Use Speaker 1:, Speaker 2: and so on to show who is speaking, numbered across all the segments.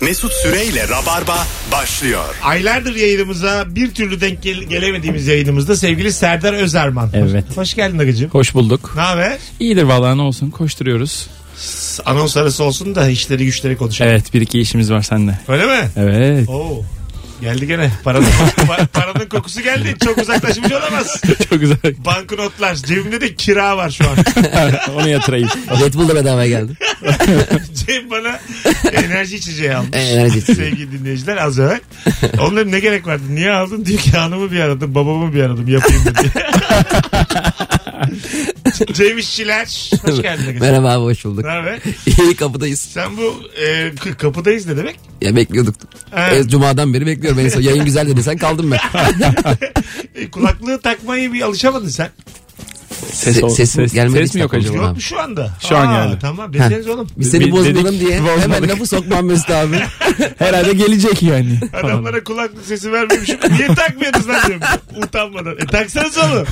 Speaker 1: Mesut Süreyle Rabarba başlıyor.
Speaker 2: Aylardır yayınımıza bir türlü denk gel- gelemediğimiz yayınımızda sevgili Serdar Özerman.
Speaker 3: Evet.
Speaker 2: Hoş, hoş geldin Agıcım.
Speaker 3: Hoş bulduk.
Speaker 2: Ne haber?
Speaker 3: İyidir vallahi ne olsun koşturuyoruz.
Speaker 2: Anons arası olsun da işleri güçleri konuşalım.
Speaker 3: Evet bir iki işimiz var sende.
Speaker 2: Öyle mi?
Speaker 3: Evet.
Speaker 2: Oo. Geldi gene. Paranın, pa- paranın kokusu geldi. Çok uzaklaşmış olamaz.
Speaker 3: Çok güzel.
Speaker 2: Banknotlar. Cebimde de kira var şu an.
Speaker 3: Onu yatırayım.
Speaker 4: Red Bull da bedavaya geldi.
Speaker 2: Cem bana enerji içeceği almış.
Speaker 4: Enerji içeceği.
Speaker 2: Sevgili dinleyiciler az evvel. Onların ne gerek vardı? Niye aldın? Diyor ki hanımı bir aradım, babamı bir aradım. Yapayım mı diye. Cem İşçiler. Hoş geldin. Ne
Speaker 4: Merhaba abi hoş bulduk.
Speaker 2: haber?
Speaker 4: İyi kapıdayız.
Speaker 2: Sen bu e, k- kapıdayız ne demek?
Speaker 4: Ya bekliyorduk.
Speaker 2: Evet.
Speaker 4: Evet, Cuma'dan beri bekliyorum. En son yayın güzel dedi sen kaldım ben.
Speaker 2: E, kulaklığı takmayı bir alışamadın sen.
Speaker 3: Ses,
Speaker 4: Se-
Speaker 3: ol-
Speaker 4: sesim gelmedi
Speaker 3: ses
Speaker 4: işte.
Speaker 3: mi yok acaba?
Speaker 2: Yok mu şu anda?
Speaker 3: Şu an
Speaker 2: Aa,
Speaker 3: geldi.
Speaker 2: Tamam deseniz oğlum.
Speaker 4: Biz seni
Speaker 3: Biz
Speaker 4: bozmayalım
Speaker 3: dedik,
Speaker 4: diye
Speaker 3: bozmadık.
Speaker 4: hemen lafı sokmam Mesut abi.
Speaker 3: Herhalde gelecek yani.
Speaker 2: Adamlara kulaklık sesi vermemişim. Niye takmıyorsunuz lan diyorum. Utanmadan. E taksanız onu.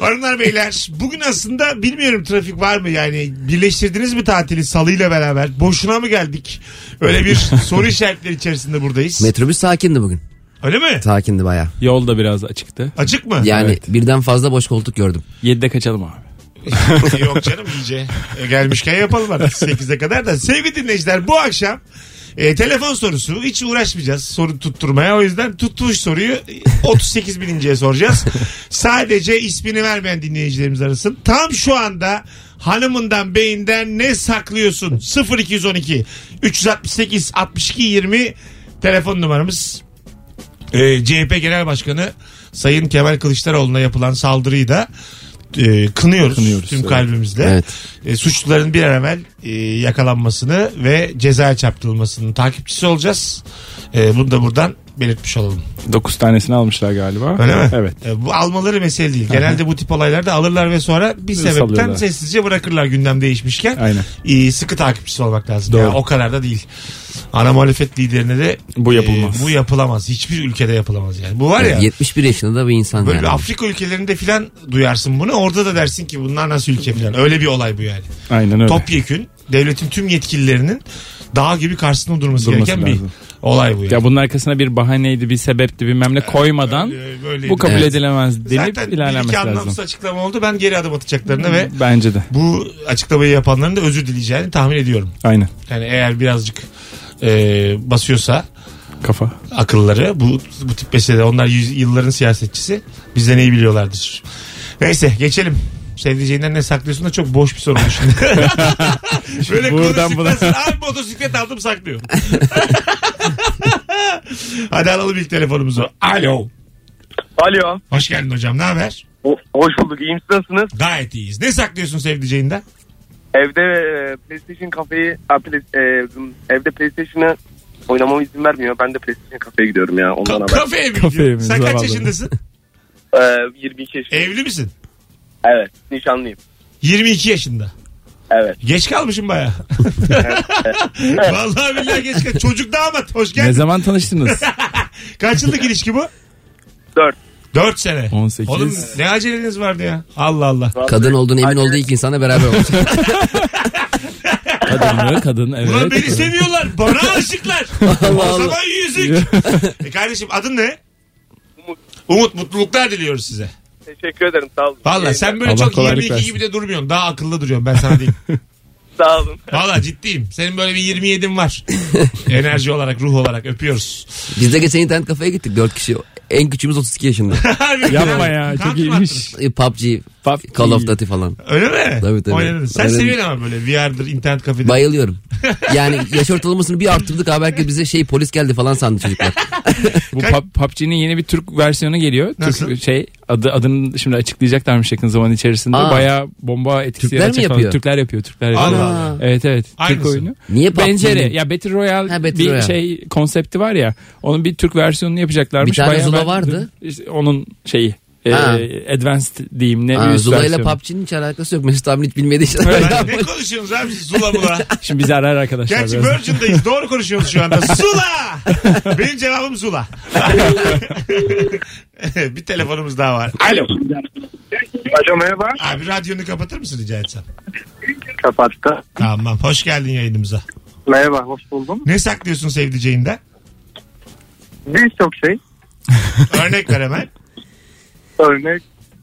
Speaker 2: Hanımlar beyler bugün aslında bilmiyorum trafik var mı yani birleştirdiniz mi tatili salıyla beraber boşuna mı geldik öyle bir soru işaretleri içerisinde buradayız
Speaker 4: Metrobüs sakindi bugün.
Speaker 2: öyle mi
Speaker 4: Sakindi baya.
Speaker 3: Yol da biraz açıktı.
Speaker 2: açık mı
Speaker 4: Yani birden fazla boş koltuk gördüm.
Speaker 3: 7'de kaçalım abi.
Speaker 2: Yok canım iyice. E, gelmişken yapalım artık 8'e kadar da. Sevgili dinleyiciler bu akşam e, telefon sorusu hiç uğraşmayacağız soru tutturmaya. O yüzden tuttuğuş soruyu e, 38 bininciye soracağız. Sadece ismini vermeyen dinleyicilerimiz arasın. Tam şu anda hanımından beyinden ne saklıyorsun? 0212 368 62 20 telefon numaramız. E, CHP Genel Başkanı Sayın Kemal Kılıçdaroğlu'na yapılan saldırıyı da e, kınıyoruz,
Speaker 3: Kınıyoruz,
Speaker 2: tüm
Speaker 3: evet.
Speaker 2: kalbimizle.
Speaker 4: Evet.
Speaker 2: E, suçluların bir an evvel e, yakalanmasını ve cezaya çarptırılmasının takipçisi olacağız. E, bunu da buradan belirtmiş olalım.
Speaker 3: 9 tanesini almışlar galiba.
Speaker 2: Öyle mi?
Speaker 3: Evet.
Speaker 2: E, bu almaları mesele değil. Genelde bu tip olaylarda alırlar ve sonra bir sebepten
Speaker 3: Salıyorlar.
Speaker 2: sessizce bırakırlar gündem değişmişken.
Speaker 3: Aynen.
Speaker 2: E, sıkı takipçisi olmak lazım.
Speaker 3: Doğru.
Speaker 2: Ya, o kadar da değil. Ana muhalefet liderine de e,
Speaker 3: Bu yapılmaz.
Speaker 2: bu yapılamaz. Hiçbir ülkede yapılamaz yani. Bu var ya.
Speaker 4: 71 yaşında da bir insan
Speaker 2: Böyle
Speaker 4: yani.
Speaker 2: bir Afrika ülkelerinde filan duyarsın bunu. Orada da dersin ki bunlar nasıl ülke filan. Öyle bir olay bu yani.
Speaker 3: Aynen öyle.
Speaker 2: Topyekün devletin tüm yetkililerinin dağ gibi karşısında durması,
Speaker 3: Durması
Speaker 2: gereken bir
Speaker 3: lazım.
Speaker 2: olay bu yani.
Speaker 3: Ya bunun arkasına bir bahaneydi, bir sebepti, bilmem ne koymadan
Speaker 2: Ee, böyleydi.
Speaker 3: bu kabul
Speaker 4: Evet.
Speaker 3: edilemez denip
Speaker 2: Zaten bir
Speaker 3: ilerlemesi
Speaker 2: iki
Speaker 3: lazım.
Speaker 2: anlamsız açıklama oldu. Ben geri adım atacaklarını ve
Speaker 3: Bence de.
Speaker 2: bu açıklamayı yapanların da özür dileyeceğini tahmin ediyorum.
Speaker 3: Aynen.
Speaker 2: Yani eğer birazcık e, basıyorsa
Speaker 3: Kafa.
Speaker 2: akılları bu, bu tip mesele onlar yüz, yılların siyasetçisi bizden iyi biliyorlardır. Neyse geçelim. Sevdiceğinden ne saklıyorsun da çok boş bir soru oldu şimdi. Böyle
Speaker 3: Buradan
Speaker 2: Buradan buna. Abi motosiklet aldım saklıyor. Hadi alalım ilk telefonumuzu. Alo.
Speaker 5: Alo.
Speaker 2: Hoş geldin hocam ne haber?
Speaker 5: O- Hoş bulduk. İyiyim siz nasılsınız?
Speaker 2: Gayet iyiyiz. Ne saklıyorsun sevdiceğinden?
Speaker 5: Evde e, PlayStation kafeyi ha, Play- e, evde PlayStation'ı oynamama izin vermiyor. Ben de PlayStation kafeye gidiyorum ya. Ondan
Speaker 2: Ka-
Speaker 5: haber.
Speaker 2: kafeye mi
Speaker 3: Kafeye
Speaker 2: gidiyorsun?
Speaker 3: mi?
Speaker 2: Sen kaç
Speaker 3: Zavallı.
Speaker 2: yaşındasın?
Speaker 5: E, 22 yaşındayım.
Speaker 2: Evli misin?
Speaker 5: Evet. Nişanlıyım.
Speaker 2: 22 yaşında.
Speaker 5: Evet.
Speaker 2: Geç kalmışım baya. Vallahi billahi geç kal. Çocuk damat hoş
Speaker 3: Ne
Speaker 2: geldin.
Speaker 3: zaman tanıştınız?
Speaker 2: Kaç yıllık ilişki bu?
Speaker 5: 4.
Speaker 2: 4 sene.
Speaker 3: 18.
Speaker 2: Oğlum ne aceleniz vardı ya? Allah Allah.
Speaker 4: Kadın olduğunu emin olduğu ilk insanla beraber olmuş.
Speaker 3: Kadın mı? Kadın evet.
Speaker 2: Ulan beni seviyorlar. Bana aşıklar.
Speaker 4: Allah
Speaker 2: o
Speaker 4: Allah.
Speaker 2: zaman yüzük. e kardeşim adın ne?
Speaker 5: Umut.
Speaker 2: Umut mutluluklar diliyoruz size.
Speaker 5: Teşekkür ederim. Sağ olun.
Speaker 2: Valla sen böyle
Speaker 3: Allah
Speaker 2: çok
Speaker 3: kolaylık
Speaker 2: 22
Speaker 3: versin.
Speaker 2: gibi de durmuyorsun. Daha akıllı duruyorsun ben sana diyeyim.
Speaker 5: Sağ olun.
Speaker 2: Valla ciddiyim. Senin böyle bir 27'in var. Enerji olarak, ruh olarak öpüyoruz.
Speaker 4: Biz de geçen internet kafeye gittik 4 kişi. En küçüğümüz 32 yaşında.
Speaker 2: Harbiden.
Speaker 3: Yapma ya.
Speaker 2: Kalk
Speaker 3: Çok
Speaker 2: mı attınız?
Speaker 3: iyiymiş.
Speaker 4: E, PUBG,
Speaker 3: Pap-
Speaker 4: Call of Duty falan.
Speaker 2: Öyle mi?
Speaker 4: Tabii, tabii.
Speaker 2: Oynadın. Sen
Speaker 4: Oynadım.
Speaker 2: seviyorsun ama böyle VR'dır, internet kafedir.
Speaker 4: Bayılıyorum. Yani yaş ortalamasını bir arttırdık abi. Herkes bize şey polis geldi falan sandı çocuklar.
Speaker 3: Bu pub- PUBG'nin yeni bir Türk versiyonu geliyor.
Speaker 2: Nasıl?
Speaker 3: Türk şey adı adını şimdi açıklayacaklarmış yakın zaman içerisinde.
Speaker 4: Aa.
Speaker 3: Bayağı bomba etkisi
Speaker 4: Türkler mi
Speaker 3: yaratacak falan.
Speaker 4: yapıyor?
Speaker 3: Türkler yapıyor. Türkler
Speaker 2: Allah
Speaker 3: yapıyor.
Speaker 2: Allah.
Speaker 3: Evet evet. Türk
Speaker 2: Aynısı.
Speaker 3: oyunu.
Speaker 4: Niye PUBG'nin?
Speaker 3: Benzeri. Ya Battle Royale
Speaker 4: Ha, Battle
Speaker 3: bir
Speaker 4: Royale.
Speaker 3: şey konsepti var ya. Onun bir Türk versiyonunu yapacaklarmış.
Speaker 4: Bir tane
Speaker 3: Bayağı
Speaker 4: Zula
Speaker 3: ben-
Speaker 4: vardı.
Speaker 3: İşte onun şeyi. E,
Speaker 4: Ha.
Speaker 3: advanced diyeyim ne
Speaker 4: Aa,
Speaker 3: üst
Speaker 4: Ee, Zula ile
Speaker 3: versiyonu.
Speaker 4: PUBG'nin hiç alakası yok. Mesut abinin hiç bilmediği
Speaker 2: Ben
Speaker 4: şeyler.
Speaker 2: ne konuşuyorsunuz abi siz zula mula?
Speaker 3: Şimdi bizi arar arkadaşlar.
Speaker 2: Gerçi
Speaker 3: birazdan.
Speaker 2: Virgin'dayız. Doğru konuşuyoruz şu anda. Zula! Benim cevabım Zula. bir telefonumuz daha var. Alo.
Speaker 5: Alo merhaba.
Speaker 2: Abi radyonu kapatır mısın rica etsem?
Speaker 5: Kapattı.
Speaker 2: Tamam. Hoş geldin yayınımıza.
Speaker 5: Merhaba, hoş buldum.
Speaker 2: Ne saklıyorsun sevdiceğinden?
Speaker 5: Birçok şey.
Speaker 2: Örnek ver hemen.
Speaker 5: Örnek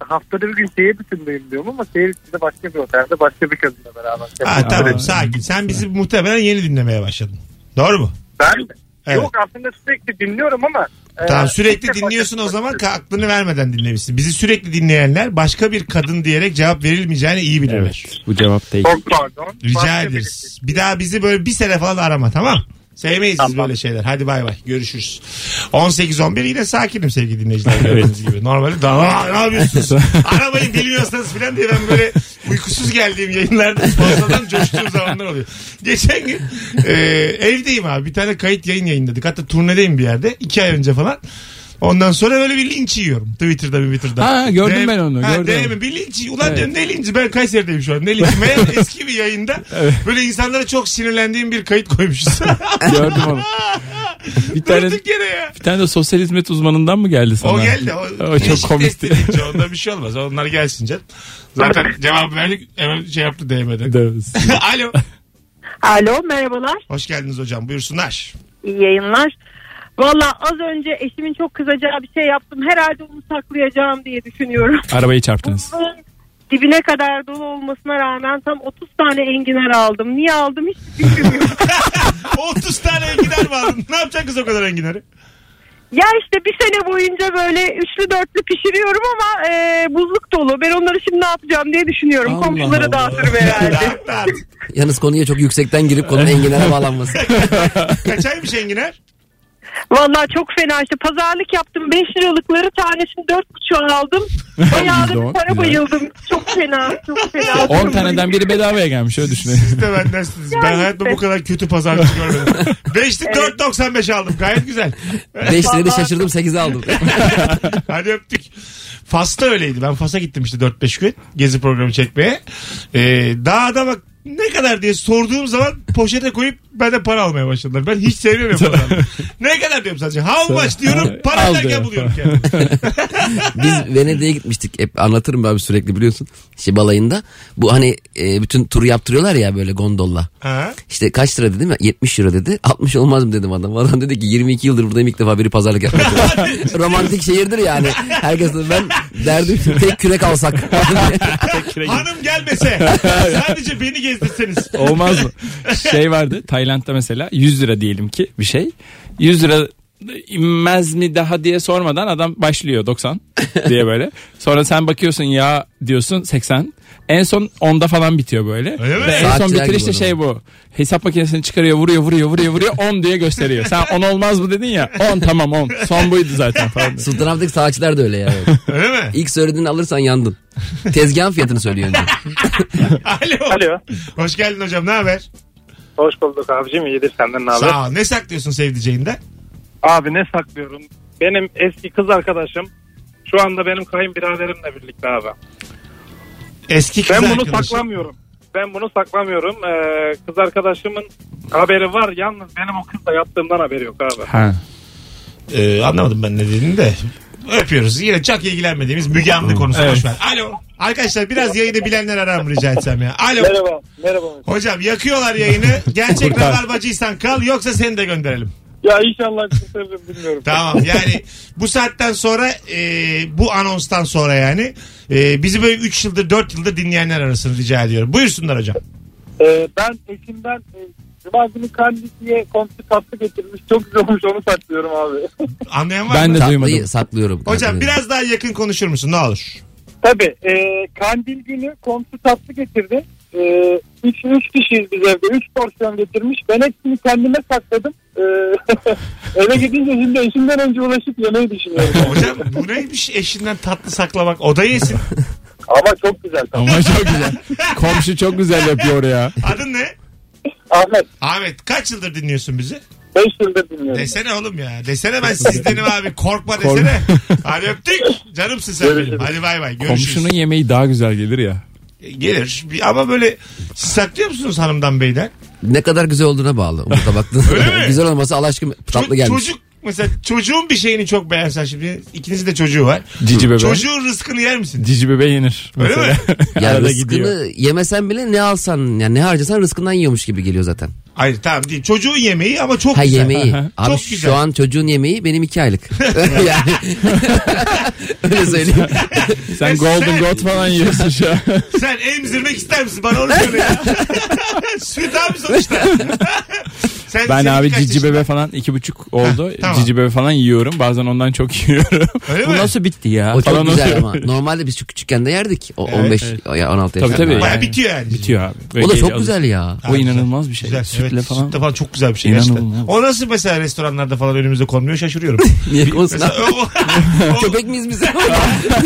Speaker 5: haftada bir gün şehir dışındayım diyorum ama şehir içinde başka bir otelde başka bir kadınla beraber.
Speaker 2: Ha, tamam sakin. Sen bizi muhtemelen yeni dinlemeye başladın. Doğru mu?
Speaker 5: Ben
Speaker 2: Evet.
Speaker 5: yok aslında sürekli dinliyorum ama. e,
Speaker 2: Tamam sürekli
Speaker 5: ilk defa
Speaker 2: dinliyorsun o zaman
Speaker 5: başka-
Speaker 2: ka- aklını vermeden dinlemişsin. Bizi sürekli dinleyenler başka bir kadın diyerek cevap verilmeyeceğini iyi bilirler.
Speaker 3: Evet. Bu cevap değil.
Speaker 5: Çok pardon.
Speaker 2: Rica
Speaker 5: Başka şey.
Speaker 2: ederiz. Bir daha bizi böyle bir sene falan arama tamam Sevmeyiz biz
Speaker 5: Tamam.
Speaker 2: böyle şeyler. Hadi bay bay. Görüşürüz. 18-11 yine sakinim sevgili dinleyiciler. Gördüğünüz gibi. Normalde daha ne yapıyorsunuz? Arabayı bilmiyorsanız falan diye ben böyle uykusuz geldiğim yayınlarda fazladan coştuğum zamanlar oluyor. Geçen gün e, evdeyim abi. Bir tane kayıt yayın yayınladık. Hatta turnedeyim bir yerde. iki ay önce falan. Ondan sonra böyle bir linç yiyorum. Twitter'da Twitter'da.
Speaker 3: Ha, gördüm ben onu,
Speaker 2: Ha,
Speaker 3: gördüm.
Speaker 2: DM, bir linç. Ulan
Speaker 3: Evet.
Speaker 2: diyorum ne linci? Ben Kayseri'deyim şu an. Ne linci? Meğer eski bir yayında böyle insanlara çok sinirlendiğim bir kayıt koymuşuz.
Speaker 3: Gördüm onu. Bir tane,
Speaker 2: Durduk yere ya.
Speaker 3: bir tane de sosyal hizmet uzmanından mı geldi sana?
Speaker 2: O geldi. O,
Speaker 3: O çok komikti.
Speaker 2: Dedikçe, onda bir şey olmaz. Onlar gelsin canım. Zaten cevap verdik. Hemen şey yaptı DM'den.
Speaker 3: Evet.
Speaker 2: Alo.
Speaker 6: Alo merhabalar.
Speaker 2: Hoş geldiniz hocam. Buyursunlar.
Speaker 6: iyi yayınlar. Valla az önce eşimin çok kızacağı bir şey yaptım. Herhalde onu saklayacağım diye düşünüyorum.
Speaker 3: Arabayı çarptınız.
Speaker 6: Bunun dibine kadar dolu olmasına rağmen tam 30 tane enginar aldım. Niye aldım hiç bilmiyorum.
Speaker 2: 30 tane enginar mi aldın? Ne yapacak kız o kadar enginarı?
Speaker 6: ya işte bir sene boyunca böyle üçlü dörtlü pişiriyorum ama e, buzluk dolu. Ben onları şimdi ne yapacağım diye düşünüyorum.
Speaker 3: Allah
Speaker 6: Komşulara
Speaker 3: Allah.
Speaker 6: dağıtırım herhalde.
Speaker 2: Rahat rahat.
Speaker 4: Yalnız konuya çok yüksekten girip konunun enginlere bağlanması.
Speaker 2: Kaç aymış enginar?
Speaker 6: Valla çok fena işte pazarlık yaptım. 5 liralıkları tanesini 4,5'a aldım. Bayağı da
Speaker 3: Güzel,
Speaker 6: bir
Speaker 3: güzel.
Speaker 6: para bayıldım. Çok fena. Çok fena.
Speaker 3: 10 taneden biri bedavaya gelmiş öyle düşünün.
Speaker 2: Siz de bendensiniz.
Speaker 6: Ya
Speaker 2: Ben
Speaker 6: işte.
Speaker 2: hayatımda bu kadar kötü pazarlık görmedim. 5'te 4.95 aldım. Gayet güzel.
Speaker 4: 5 lirayı şaşırdım 8'e aldım.
Speaker 2: Hadi öptük. Fas'ta öyleydi. Ben Fas'a gittim işte 4-5 gün. Gezi programı çekmeye. Ee, daha adama ne kadar diye sorduğum zaman poşete koyup benden para almaya başladılar. Ben hiç sevmiyorum pazarlığı. ne kadar diyorum sadece. How much diyorum. Para
Speaker 3: Al
Speaker 2: derken
Speaker 3: diyor.
Speaker 2: buluyorum kendimi.
Speaker 4: Biz Venedik'e gitmiştik. Hep anlatırım abi sürekli biliyorsun. İşte balayında. Bu hani e, bütün turu yaptırıyorlar ya böyle gondolla.
Speaker 2: Ha?
Speaker 4: İşte kaç lira dedim ya 70 lira dedi. 60 olmaz mı dedim adam. Adam dedi ki 22 yıldır buradayım ilk defa biri pazarlık yapmadı. Romantik şehirdir yani. Herkes de ben derdim ki tek kürek alsak.
Speaker 2: Hanım gelmese. sadece beni gezdirseniz.
Speaker 3: Olmaz mı? Şey vardı Tayland'da mesela 100 lira diyelim ki bir şey. 100 lira inmez mi daha diye sormadan adam başlıyor 90 diye böyle. Sonra sen bakıyorsun ya diyorsun 80. En son 10'da falan bitiyor böyle.
Speaker 2: Öyle mi?
Speaker 3: Ve en son
Speaker 4: Saatçiler
Speaker 3: bitirişte
Speaker 4: gibi
Speaker 3: şey bu. Hesap makinesini çıkarıyor vuruyor vuruyor vuruyor vuruyor 10 diye gösteriyor. Sen 10 olmaz mı dedin ya 10 tamam 10 son buydu zaten falan.
Speaker 4: Sultanahmet'teki saatçiler de öyle yani.
Speaker 2: Öyle mi?
Speaker 4: İlk söylediğini alırsan yandın. Tezgahın fiyatını söylüyor önce.
Speaker 2: Alo.
Speaker 5: Alo.
Speaker 2: Hoş geldin hocam. Ne haber?
Speaker 5: Hoş bulduk abicim. İyidir senden ne haber?
Speaker 2: Sağ ol. Ne saklıyorsun sevdiceğinden?
Speaker 5: Abi ne saklıyorum? Benim eski kız arkadaşım şu anda benim kayınbiraderimle birlikte abi.
Speaker 2: Eski kız
Speaker 5: Ben bunu
Speaker 2: arkadaşın.
Speaker 5: saklamıyorum. Ben bunu saklamıyorum. Ee, kız arkadaşımın haberi var. Yalnız benim o kızla yaptığımdan haberi yok abi.
Speaker 3: Ha.
Speaker 2: Ee, anlamadım ben ne dediğini de. Öpüyoruz. Yine çok ilgilenmediğimiz Müge Anlı konusu.
Speaker 3: Hmm, Evet.
Speaker 2: Boş ver. Alo. Arkadaşlar biraz yayını bilenler arar mı rica etsem ya. Alo.
Speaker 5: Merhaba. Merhaba.
Speaker 2: Hocam yakıyorlar yayını. Gerçek
Speaker 3: Kurtar.
Speaker 2: rabarbacıysan kal yoksa seni de gönderelim.
Speaker 5: Ya inşallah kurtarırım bilmiyorum.
Speaker 2: Tamam yani bu saatten sonra e, bu anonstan sonra yani e, bizi böyle 3 yıldır 4 yıldır dinleyenler arasını rica ediyorum. Buyursunlar hocam.
Speaker 5: Ee, ben eşimden e, Cuma günü kandisiye komşu tatlı getirmiş. Çok güzel olmuş onu saklıyorum abi.
Speaker 2: Anlayan var
Speaker 3: Ben
Speaker 2: mı?
Speaker 3: de-
Speaker 4: Tatlıyı
Speaker 3: duymadım.
Speaker 4: saklıyorum.
Speaker 2: Hocam biraz daha yakın konuşur musun ne olur?
Speaker 5: Tabii e, kandil günü komşu tatlı getirdi. E, üç, üç kişiyiz biz evde. Üç porsiyon getirmiş. Ben hepsini kendime sakladım. E, eve gidince şimdi eşimden önce ulaşıp yemeyi düşünüyorum.
Speaker 2: Hocam bu neymiş eşinden tatlı saklamak? O da yesin.
Speaker 5: Ama çok güzel tatlı.
Speaker 3: Ama çok güzel. Komşu çok güzel yapıyor ya.
Speaker 2: Adın ne?
Speaker 5: Ahmet
Speaker 2: Ahmet kaç yıldır dinliyorsun bizi?
Speaker 5: 5 yıldır dinliyorum.
Speaker 2: Desene oğlum ya. Desene ben sizdenim abi. Korkma desene. Hadi öptük. Canımsın sen benim. Hadi bay bay. Görüşürüz. E,
Speaker 3: Komşunun yemeği daha güzel gelir ya.
Speaker 2: Gelir. Bir- Ama böyle siz saklıyor musunuz hanımdan beyden?
Speaker 4: Ne kadar güzel olduğuna bağlı. Umut'a baktın.
Speaker 2: Öyle mi?
Speaker 4: güzel olması Allah aşkına
Speaker 2: Ço-
Speaker 4: tatlı gelmiş.
Speaker 2: Çocuk mesela çocuğun bir şeyini çok beğensen şimdi ikinizin de çocuğu var.
Speaker 3: Cici bebe.
Speaker 2: Çocuğun rızkını yer misin?
Speaker 3: Cici bebe yenir.
Speaker 2: Öyle
Speaker 3: Mesela.
Speaker 4: Ya
Speaker 3: Arada
Speaker 4: rızkını
Speaker 3: gidiyor.
Speaker 4: yemesen bile ne alsan yani ne harcasan rızkından yiyormuş gibi geliyor zaten.
Speaker 2: Hayır tamam değil. Çocuğun yemeği ama çok
Speaker 4: Ha
Speaker 2: güzel.
Speaker 4: yemeği. Abi
Speaker 2: Çok
Speaker 4: şu
Speaker 2: güzel.
Speaker 4: an çocuğun yemeği benim iki aylık. yani. Öyle söyleyeyim.
Speaker 3: Sen Golden God falan yiyorsun şu an.
Speaker 2: Sen emzirmek ister misin? Bana onu söyle ya. Süt abi sonuçta. Sen,
Speaker 3: Ben
Speaker 2: senin
Speaker 3: abi
Speaker 2: kaç
Speaker 3: cici
Speaker 2: yaşın-
Speaker 3: bebe falan iki buçuk oldu.
Speaker 2: tamam.
Speaker 3: Cici bebe falan yiyorum. Bazen ondan çok yiyorum.
Speaker 2: Öyle
Speaker 3: Bu
Speaker 2: mi?
Speaker 3: nasıl bitti ya?
Speaker 4: O çok
Speaker 3: falan
Speaker 4: güzel
Speaker 3: oluyorum.
Speaker 4: ama. Normalde biz çok küçükken de yerdik. O
Speaker 2: Evet,
Speaker 4: 15 ya 16
Speaker 3: Tabii
Speaker 4: yaşında.
Speaker 3: tabii.
Speaker 4: falan.
Speaker 2: Baya
Speaker 3: Yani.
Speaker 2: bitiyor yani.
Speaker 3: Bitiyor abi. Böyle
Speaker 4: O da
Speaker 3: geri
Speaker 4: çok
Speaker 3: alıyorsun.
Speaker 4: güzel ya.
Speaker 3: O inanılmaz bir şey.
Speaker 2: Güzel.
Speaker 3: Sütle
Speaker 2: evet,
Speaker 3: falan.
Speaker 2: Sütle falan çok güzel bir şey. Gerçekten.
Speaker 3: İnanılmaz.
Speaker 2: O nasıl mesela restoranlarda falan önümüze konmuyor şaşırıyorum.
Speaker 4: Niye konuşsun
Speaker 2: mesela,
Speaker 4: abi?
Speaker 2: o, o-
Speaker 4: Köpek miyiz biz?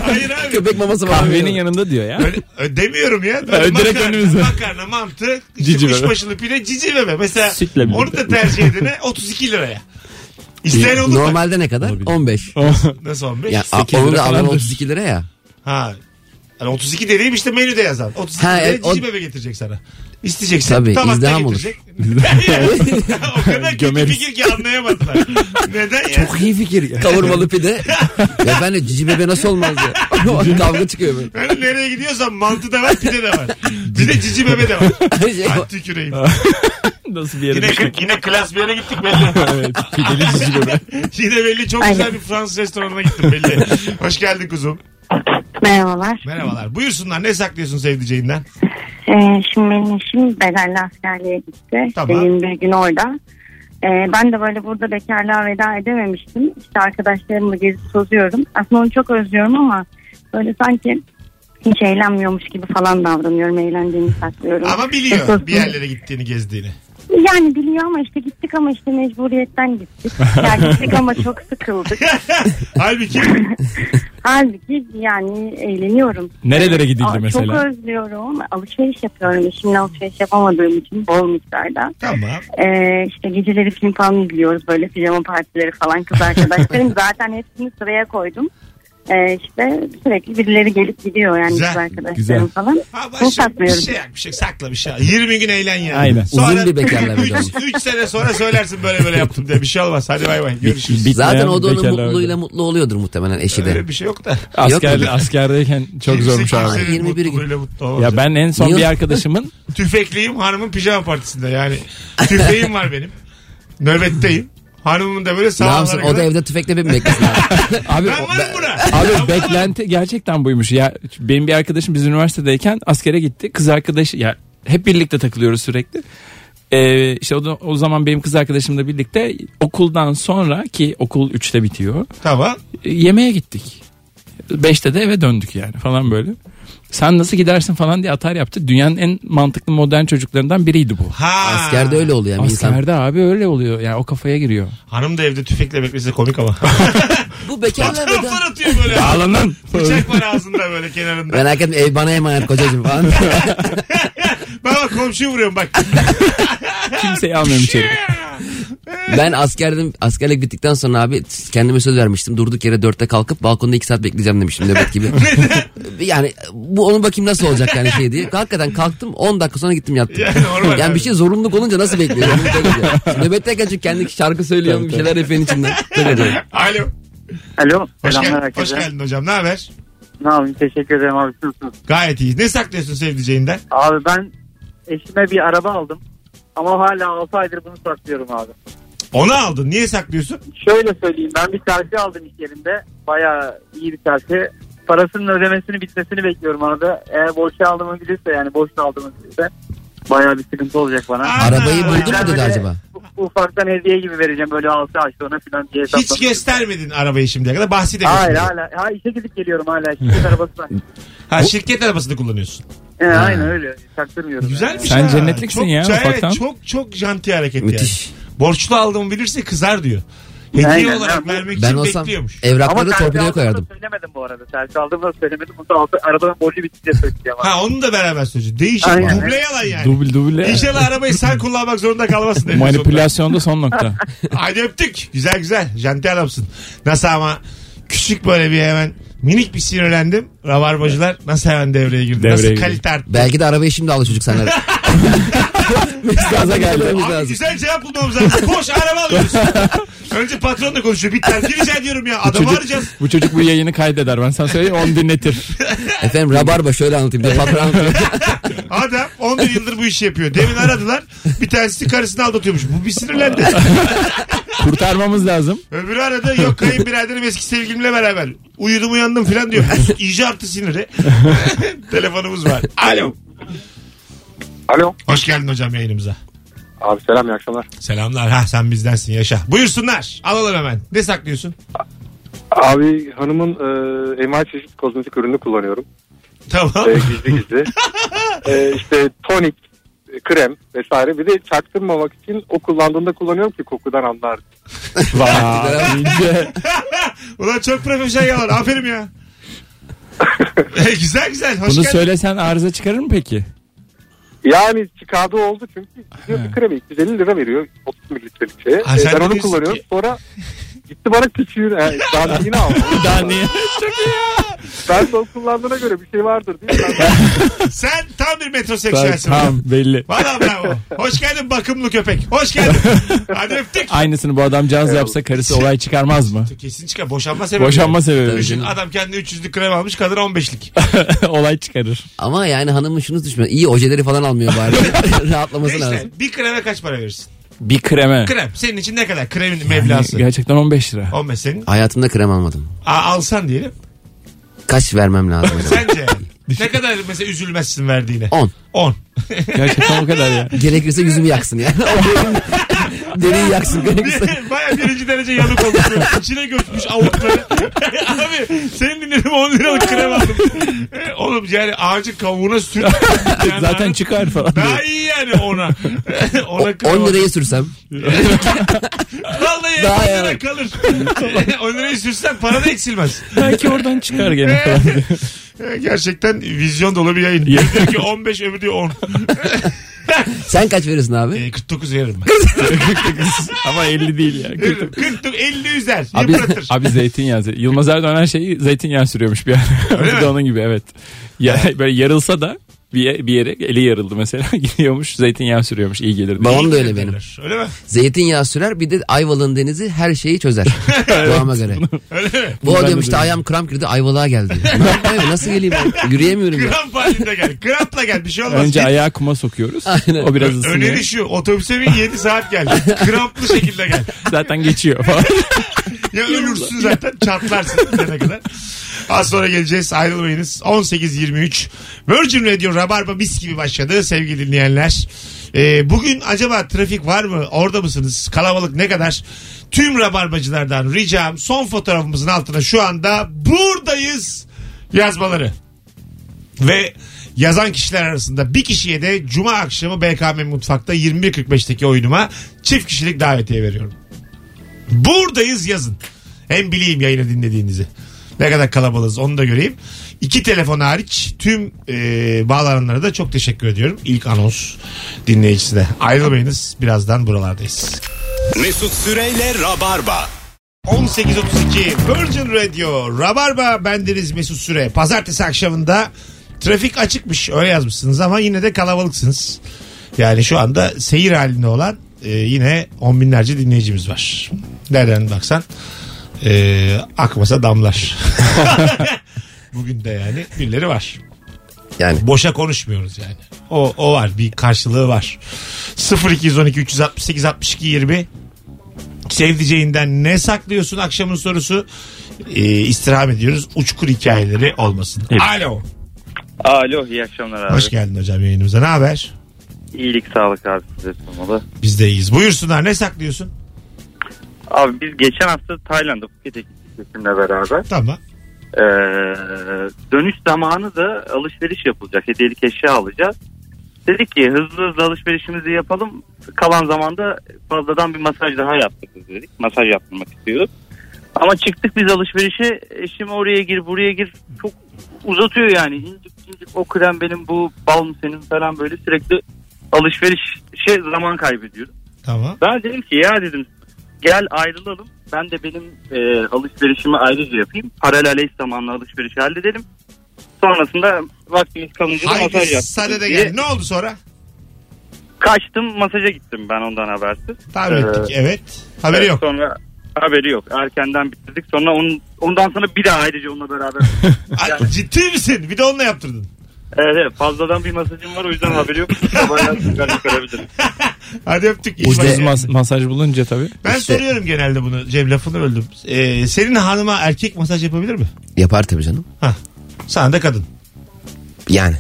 Speaker 2: hayır abi.
Speaker 4: Köpek maması var.
Speaker 3: Kahvenin yanında diyor ya.
Speaker 2: Öyle- ö- demiyorum ya.
Speaker 3: Ö, direkt önümüze.
Speaker 2: Makarna, mantı,
Speaker 3: Cici
Speaker 2: cici
Speaker 3: bebe.
Speaker 2: kuşbaşılı pide, cici bebe. Mesela
Speaker 3: Sütle birlikte.
Speaker 2: onu da tercih edene 32 liraya. İsteyen olur mu?
Speaker 4: Normalde ne kadar? 15.
Speaker 2: Nasıl 15?
Speaker 4: Ya, a-
Speaker 3: 8
Speaker 4: onun
Speaker 3: lira
Speaker 4: da alan
Speaker 3: falandır.
Speaker 4: 32 lira ya.
Speaker 2: Ha. Yani 32 dediğim işte menüde yazan. 32
Speaker 4: Ha,
Speaker 2: liraya
Speaker 4: evet,
Speaker 2: cici
Speaker 4: o-
Speaker 2: bebe getirecek sana. İsteyeceksin.
Speaker 4: Tabii,
Speaker 2: Tabakta
Speaker 4: izdiham olur.
Speaker 2: getirecek. o kadar kötü
Speaker 3: Gömeriz.
Speaker 2: fikir ki anlayamadılar. Neden ya?
Speaker 4: iyi fikir ya. Kavurmalı pide. ya ben de cici bebe nasıl olmaz ya. Kavga çıkıyor böyle.
Speaker 2: Ben nereye gidiyorsam mantı da var pide de var. Bir de cici bebe de var.
Speaker 4: Şey,
Speaker 2: Ay tüküreyim.
Speaker 3: Nasıl bir yere
Speaker 2: Yine,
Speaker 3: düştük?
Speaker 2: yine klas bir yere gittik belli.
Speaker 3: evet. Pideli cici bebe.
Speaker 2: Yine belli çok güzel bir Fransız restoranına gittim belli. Hoş geldin kuzum.
Speaker 7: Merhabalar.
Speaker 2: Merhabalar. Buyursunlar ne saklıyorsun sevdiceğinden?
Speaker 7: Ee, şimdi benim eşim bedelli askerliğe gitti.
Speaker 2: Tamam.
Speaker 7: Benim bir gün orada. Ee, ben de böyle burada bekarlığa veda edememiştim. İşte arkadaşlarımla gezip tozuyorum. Aslında onu çok özlüyorum ama böyle sanki hiç eğlenmiyormuş gibi falan davranıyorum. Eğlendiğimi saklıyorum.
Speaker 2: Ama biliyor bir yerlere gittiğini gezdiğini.
Speaker 7: Yani biliyor ama işte gittik ama işte mecburiyetten gittik. Yani gittik ama çok sıkıldık.
Speaker 2: Halbuki
Speaker 7: Halbuki yani eğleniyorum.
Speaker 3: Nerelere gidildi
Speaker 7: Aa,
Speaker 3: mesela?
Speaker 7: Çok özlüyorum. Alışveriş yapıyorum. Eşimle alışveriş yapamadığım için bol miktarda.
Speaker 2: tamam.
Speaker 7: Ee, işte geceleri film falan izliyoruz böyle pijama partileri falan kız arkadaşlarım zaten hepsini sıraya koydum. Ee, işte sürekli birileri gelip gidiyor yani
Speaker 2: Güzel,
Speaker 7: kız arkadaşlarım
Speaker 3: güzel.
Speaker 7: falan.
Speaker 2: Ha,
Speaker 7: Bunu
Speaker 2: başım, bir
Speaker 7: saklıyorum.
Speaker 2: şey yak, bir şey sakla bir şey. al. 20 gün eğlen yani.
Speaker 3: Aynen.
Speaker 4: Uzun bir bekarlığa veda olmuş.
Speaker 2: 3 sene sonra söylersin böyle böyle yaptım diye. Bir şey olmaz. Hadi bay bay. Görüşürüz.
Speaker 3: Bitmeyen
Speaker 4: Zaten o da onun
Speaker 3: bekarlığa
Speaker 4: mutluluğuyla mutlu oluyordur muhtemelen eşi de.
Speaker 2: Öyle bir şey yok da.
Speaker 3: Asker,
Speaker 4: Yok mu?
Speaker 3: askerdeyken çok
Speaker 2: Kimse
Speaker 3: zormuş abi.
Speaker 2: kimsenin
Speaker 4: 21 gün.
Speaker 2: mutluluğuyla mutlu olacak.
Speaker 3: Ya ben en son
Speaker 4: Niye-
Speaker 3: bir arkadaşımın
Speaker 2: Tüfekliyim hanımın pijama partisinde yani. Tüfeğim var benim. Nöbetteyim. Hanımın da böyle
Speaker 4: Ne
Speaker 2: sağlara
Speaker 4: yapsın?
Speaker 2: kadar.
Speaker 4: O da evde tüfekle beni beklesin.
Speaker 3: abi
Speaker 2: Ben
Speaker 3: o-
Speaker 2: varım buna.
Speaker 3: Abi beklenti gerçekten buymuş. Ya benim bir arkadaşım biz üniversitedeyken askere gitti. Kız arkadaşı ya hep birlikte takılıyoruz sürekli. Ee, işte o, da- o zaman benim kız arkadaşımla birlikte okuldan sonra ki okul 3'te bitiyor.
Speaker 2: Tamam.
Speaker 3: e, Yemeğe gittik. 5'te de eve döndük yani falan böyle. Sen nasıl gidersin falan diye atar yaptı. Dünyanın en mantıklı modern çocuklarından biriydi bu.
Speaker 2: Ha.
Speaker 4: Askerde öyle oluyor yani insan.
Speaker 3: Askerde abi öyle oluyor. Yani o kafaya giriyor.
Speaker 2: Hanım da evde tüfekle beklese komik ama.
Speaker 4: Bu bekarlığa veda.
Speaker 2: Fotoğraflar atıyor böyle.
Speaker 3: Ağlanan.
Speaker 2: Bıçak var ağzında böyle kenarında.
Speaker 4: Merak etme ev bana emanet kocacığım falan.
Speaker 2: Baba komşuyu vuruyorum bak.
Speaker 3: Kimseyi almıyorum içeri.
Speaker 4: ben askerdim, askerlik bittikten sonra abi kendime söz vermiştim. Durduk yere dörtte kalkıp balkonda iki saat bekleyeceğim demiştim nöbet gibi. yani bu onu bakayım nasıl olacak yani şey diye. Hakikaten kalktım 10 dakika sonra gittim yattım.
Speaker 2: Yani normal
Speaker 4: Yani,
Speaker 2: abi.
Speaker 4: bir şey zorunluluk olunca nasıl bekliyorum? Nöbetteyken çünkü kendi şarkı söylüyorum bir şeyler efenin içinden. Çok acayip.
Speaker 2: Alo.
Speaker 5: Alo.
Speaker 2: Hoş,
Speaker 5: Selamlar
Speaker 2: gel- hoş
Speaker 5: herkese.
Speaker 2: geldin hocam. Ne haber?
Speaker 5: Ne yapayım teşekkür ederim abi. Nasılsınız?
Speaker 2: Gayet iyiyiz. Ne saklıyorsun sevdiceğinden?
Speaker 5: Abi ben eşime bir araba aldım. Ama hala 6 aydır bunu saklıyorum abi.
Speaker 2: Onu aldın. Niye saklıyorsun?
Speaker 5: Şöyle söyleyeyim ben bir terfi aldım iş yerinde. Bayağı iyi bir terfi. Parasının ödemesini bitmesini bekliyorum arada. Eğer borçlu aldığımı bilirse yani borçlu aldığımı bilirse bayağı bir sıkıntı olacak bana.
Speaker 2: Aa,
Speaker 4: Arabayı
Speaker 2: Aa.
Speaker 4: buldun mu dedi
Speaker 5: Böyle
Speaker 4: acaba?
Speaker 5: u- Ufaktan hediye gibi vereceğim böyle 6 ay sonra falan diye
Speaker 2: Hiç
Speaker 5: hesapladım.
Speaker 2: göstermedin arabayı şimdiye kadar. Bahsi
Speaker 5: Hayır hala. Ha, işe gidip geliyorum hala. Şirket arabası var.
Speaker 2: Ha, şirket arabasını kullanıyorsun.
Speaker 5: He, aynen öyle. Çaktırmıyorum.
Speaker 2: Güzelmiş
Speaker 3: Sen
Speaker 2: ha.
Speaker 3: cennetliksin
Speaker 2: şey. çok,
Speaker 3: ya
Speaker 2: evet,
Speaker 3: ufaktan.
Speaker 2: çok çok janti hareket
Speaker 4: Müthiş.
Speaker 2: yani. Borçlu aldığımı bilirse kızar diyor. Hediye
Speaker 5: Aynen,
Speaker 2: olarak
Speaker 5: aynen.
Speaker 2: vermek
Speaker 4: Ben
Speaker 2: için
Speaker 4: olsam
Speaker 2: bekliyormuş.
Speaker 4: evrakları
Speaker 5: terfi
Speaker 4: torpidoya
Speaker 5: aldığımı
Speaker 4: koyardım.
Speaker 5: da söylemedim bu arada. Terfi aldığımda söylemedim. Bunu da altı- arabanın borcu bitince söyleyeceğim. abi.
Speaker 2: Ha onu da beraber söyleyeceğim. Değişik
Speaker 5: Aynen.
Speaker 2: duble yalan yani.
Speaker 3: Duble duble.
Speaker 2: İnşallah arabayı sen kullanmak zorunda kalmasın. en sonunda.
Speaker 3: Manipülasyonda son nokta.
Speaker 2: Hadi öptük. Güzel güzel. Janti adamsın. Nasıl ama küçük böyle bir hemen minik bir sinirlendim. Rabarbacılar nasıl hemen devreye girdi?
Speaker 3: Devreye
Speaker 2: nasıl
Speaker 3: girdi.
Speaker 2: kalite arttı?
Speaker 4: Belki de arabayı şimdi aldı çocuk senler. Biz gaza geldi.
Speaker 2: Abi güzel cevap bulmamız lazım. Boş araba alıyoruz. Önce patronla konuşuyor. Bir terfi rica ediyorum ya. Adamı
Speaker 3: Çocuk-
Speaker 2: arayacağız.
Speaker 3: Bu çocuk bu yayını kaydeder ben sana söyleyeyim onu dinletir.
Speaker 4: Efendim rabarba şöyle anlatayım. Bir de patron anlatayım.
Speaker 2: Adam 11 yıldır bu işi yapıyor. Demin aradılar. Bir tanesi karısını aldatıyormuş. Bu bir sinirlendi.
Speaker 3: Kurtarmamız lazım.
Speaker 2: Öbürü arada yok kayınbiraderim eski sevgilimle beraber. Uyudum uyandım falan diyor. İyice arttı siniri. Telefonumuz var. Alo.
Speaker 5: Alo.
Speaker 2: Hoş geldin hocam yayınımıza.
Speaker 5: Abi selam iyi akşamlar.
Speaker 2: Selamlar. Ha sen bizdensin yaşa. Buyursunlar. Alalım hemen. Ne saklıyorsun?
Speaker 5: Abi hanımın e, envai çeşit kozmetik ürünü kullanıyorum.
Speaker 2: Tamam.
Speaker 5: E, gizli gizli. e, işte tonik, e, krem vesaire. Bir de çaktırmamak için o kullandığında kullanıyorum ki kokudan anlar.
Speaker 3: Vay ince.
Speaker 2: Ulan çok profesyonel yalan. Aferin ya. E, güzel güzel. Hoş
Speaker 3: Bunu
Speaker 2: geldin.
Speaker 3: söylesen arıza çıkarır mı peki?
Speaker 5: Yani çıkardığı oldu çünkü diyor ki kremi 250 lira veriyor 30 mililitrelik şeye.
Speaker 2: Ha,
Speaker 5: E,
Speaker 2: sen de
Speaker 5: ben onu
Speaker 2: diyorsun
Speaker 5: kullanıyorum.
Speaker 2: ki-
Speaker 5: Sonra gitti bana e, küçüğünü. Yani, daha yine aldı.
Speaker 3: Daha niye?
Speaker 5: Ben de o kullandığına göre bir şey vardır değil mi? Ben-
Speaker 2: Sen tam bir metroseksüelsin.
Speaker 3: Tamam belli.
Speaker 2: Valla bravo. Hoş geldin bakımlı köpek. Hoş geldin. Hadi öptük.
Speaker 3: Aynısını bu adamcağız yapsa karısı olay çıkarmaz mı?
Speaker 2: Kesin çıkar. Boşanma sebebi.
Speaker 3: Boşanma sebebi.
Speaker 2: Düşün adam kendi 300'lük krem almış kadın 15'lik.
Speaker 3: olay çıkarır.
Speaker 4: Ama yani hanımın şunu düşmüyor. İyi ojeleri falan almıyor bari. Rahatlaması
Speaker 2: işte
Speaker 4: lazım.
Speaker 2: bir kreme kaç para verirsin?
Speaker 3: Bir kreme.
Speaker 2: Krem senin için ne kadar? Kremin meblası.
Speaker 3: Gerçekten 15 lira.
Speaker 2: 15 senin.
Speaker 4: Hayatımda krem almadım.
Speaker 2: Aa, alsan diyelim.
Speaker 4: Kaç vermem lazım acaba?
Speaker 2: Sence ne kadar mesela üzülmezsin verdiğine?
Speaker 4: 10.
Speaker 2: 10.
Speaker 3: Gerçekten o kadar ya.
Speaker 4: Gerekirse yüzümü yaksın ya. Deriyi yaksın gerekirse.
Speaker 2: Baya birinci derece yanık olmuşsun. İçine götmüş avukları. Abi senin dinledim 10 liralık krem aldım. E, Oğlum yani ağacın kavuğuna sürt. Yani
Speaker 3: Zaten çıkar falan.
Speaker 2: Daha iyi yani ona. ona krem
Speaker 4: 10 lirayı sürsem.
Speaker 2: Vallahi
Speaker 4: Daha
Speaker 2: 10 lira
Speaker 4: yani.
Speaker 2: kalır. 10 lirayı sürsen para da eksilmez.
Speaker 3: Belki oradan çıkar gene falan.
Speaker 2: E, Gerçekten vizyon dolu bir yayın. Biri diyor ki 15 öbürü diyor 10.
Speaker 4: Sen kaç verirsin abi?
Speaker 3: Ee,
Speaker 2: E, 49 veririm ben.
Speaker 3: Ama 50 değil ya.
Speaker 2: Veririm. 49 50 üzer.
Speaker 3: Abi,
Speaker 2: Yıpratır.
Speaker 3: abi zeytinyağı. ze- Yılmaz Erdoğan her şeyi zeytinyağı sürüyormuş bir ara.
Speaker 2: Öyle
Speaker 3: bir de
Speaker 2: mi?
Speaker 3: onun gibi evet. Ya, böyle yarılsa da bir, ye- bir yere eli yarıldı mesela gidiyormuş zeytinyağı sürüyormuş iyi gelir. diye.
Speaker 4: Babam da öyle benim.
Speaker 2: Öyle mi?
Speaker 4: Zeytinyağı sürer bir de Ayvalık'ın denizi her şeyi çözer. Babama göre.
Speaker 2: Öyle mi?
Speaker 4: Bu
Speaker 3: ben de
Speaker 4: adam işte ayağım kramp girdi Ayvalık'a geldi. ne yapayım nasıl geleyim ben? Yürüyemiyorum ya.
Speaker 2: Kramp halinde gel. Krampla gel. Bir şey olmaz.
Speaker 3: Önce
Speaker 2: Git.
Speaker 3: ayağı kuma sokuyoruz.
Speaker 4: Aynen.
Speaker 3: O biraz ısınıyor.
Speaker 2: Öneri şu otobüse bin 7 saat gel. Kramplı şekilde gel.
Speaker 3: Zaten geçiyor falan.
Speaker 2: Ya ölürsün zaten çatlarsın gidene kadar. Az sonra geleceğiz ayrılmayınız. 18.23 Virgin Radio Rabarba mis gibi başladı sevgili dinleyenler. Ee, bugün acaba trafik var mı? Orada mısınız? Kalabalık ne kadar? Tüm rabarbacılardan ricam son fotoğrafımızın altına şu anda buradayız yazmaları. Ve yazan kişiler arasında bir kişiye de cuma akşamı BKM Mutfak'ta 21.45'teki oyunuma çift kişilik davetiye veriyorum. Buradayız yazın. Hem bileyim yayını dinlediğinizi. Ne kadar kalabalığız onu da göreyim. İki telefon hariç tüm e, bağlananlara da çok teşekkür ediyorum. İlk anons dinleyicisine. Ayrılmayınız birazdan buralardayız.
Speaker 1: Mesut Süreyle Rabarba.
Speaker 2: 18.32 Virgin Radio Rabarba bendeniz Mesut Süre. Pazartesi akşamında trafik açıkmış öyle yazmışsınız ama yine de kalabalıksınız. Yani şu anda seyir halinde olan e, yine on binlerce dinleyicimiz var. Nereden baksan e, akmasa damlar. Bugün de yani birileri var.
Speaker 4: Yani
Speaker 2: Boşa konuşmuyoruz yani. O, o var bir karşılığı var. 0212 368 62 20 sevdiceğinden ne saklıyorsun akşamın sorusu Ee, istirham ediyoruz. Uçkur hikayeleri olmasın. Alo.
Speaker 8: Alo iyi akşamlar abi.
Speaker 2: Hoş geldin hocam yayınımıza. Ne haber?
Speaker 8: İyilik sağlık abi size sunmalı.
Speaker 2: Biz de iyiyiz. Buyursunlar ne saklıyorsun?
Speaker 8: Abi biz geçen hafta Tayland'a Phuket'e gittik eşimle beraber.
Speaker 2: Tamam.
Speaker 8: Ee, dönüş zamanı da alışveriş yapılacak. Hediyelik eşya alacağız. Dedik ki hızlı hızlı alışverişimizi yapalım. Kalan zamanda fazladan bir masaj daha yaptırırız dedik. Masaj yaptırmak istiyorduk. Ama çıktık biz alışverişe. Eşim oraya gir buraya gir. Çok uzatıyor yani. İncik incik o krem benim bu bal mı senin falan böyle sürekli alışverişe zaman kaybediyoruz.
Speaker 2: Tamam.
Speaker 8: Ben dedim ki ya dedim gel ayrılalım. Ben de benim e, alışverişimi ayrıca yapayım. Paralel eş zamanlı alışveriş halledelim. Sonrasında vaktimiz kalınca da masaj
Speaker 2: Haydi
Speaker 8: yaptım.
Speaker 2: sana da
Speaker 8: diye
Speaker 2: gel. Ne oldu sonra?
Speaker 8: Kaçtım masaja gittim ben ondan habersiz.
Speaker 2: Tahmin
Speaker 8: Ee,
Speaker 2: ettik. Evet. E, Haberi yok.
Speaker 8: Sonra
Speaker 9: Haberi yok. Erkenden bitirdik. Sonra onun, ondan sonra bir daha ayrıca onunla beraber.
Speaker 2: Ay, ciddi misin? Bir de onunla yaptırdın.
Speaker 9: evet, evet, fazladan bir masajım var o yüzden haberi yok. Sabah yatsın ben çıkarabilirim.
Speaker 2: Hadi öptük. iyi
Speaker 3: Ucuz
Speaker 2: bak.
Speaker 3: mas- masaj bulunca tabii.
Speaker 2: Ben
Speaker 4: İşte-
Speaker 2: soruyorum genelde bunu. Cem lafını öldüm. Ee, senin hanıma erkek masaj yapabilir mi?
Speaker 4: Yapar tabii canım.
Speaker 2: Hah. Sana da kadın.
Speaker 4: Yani.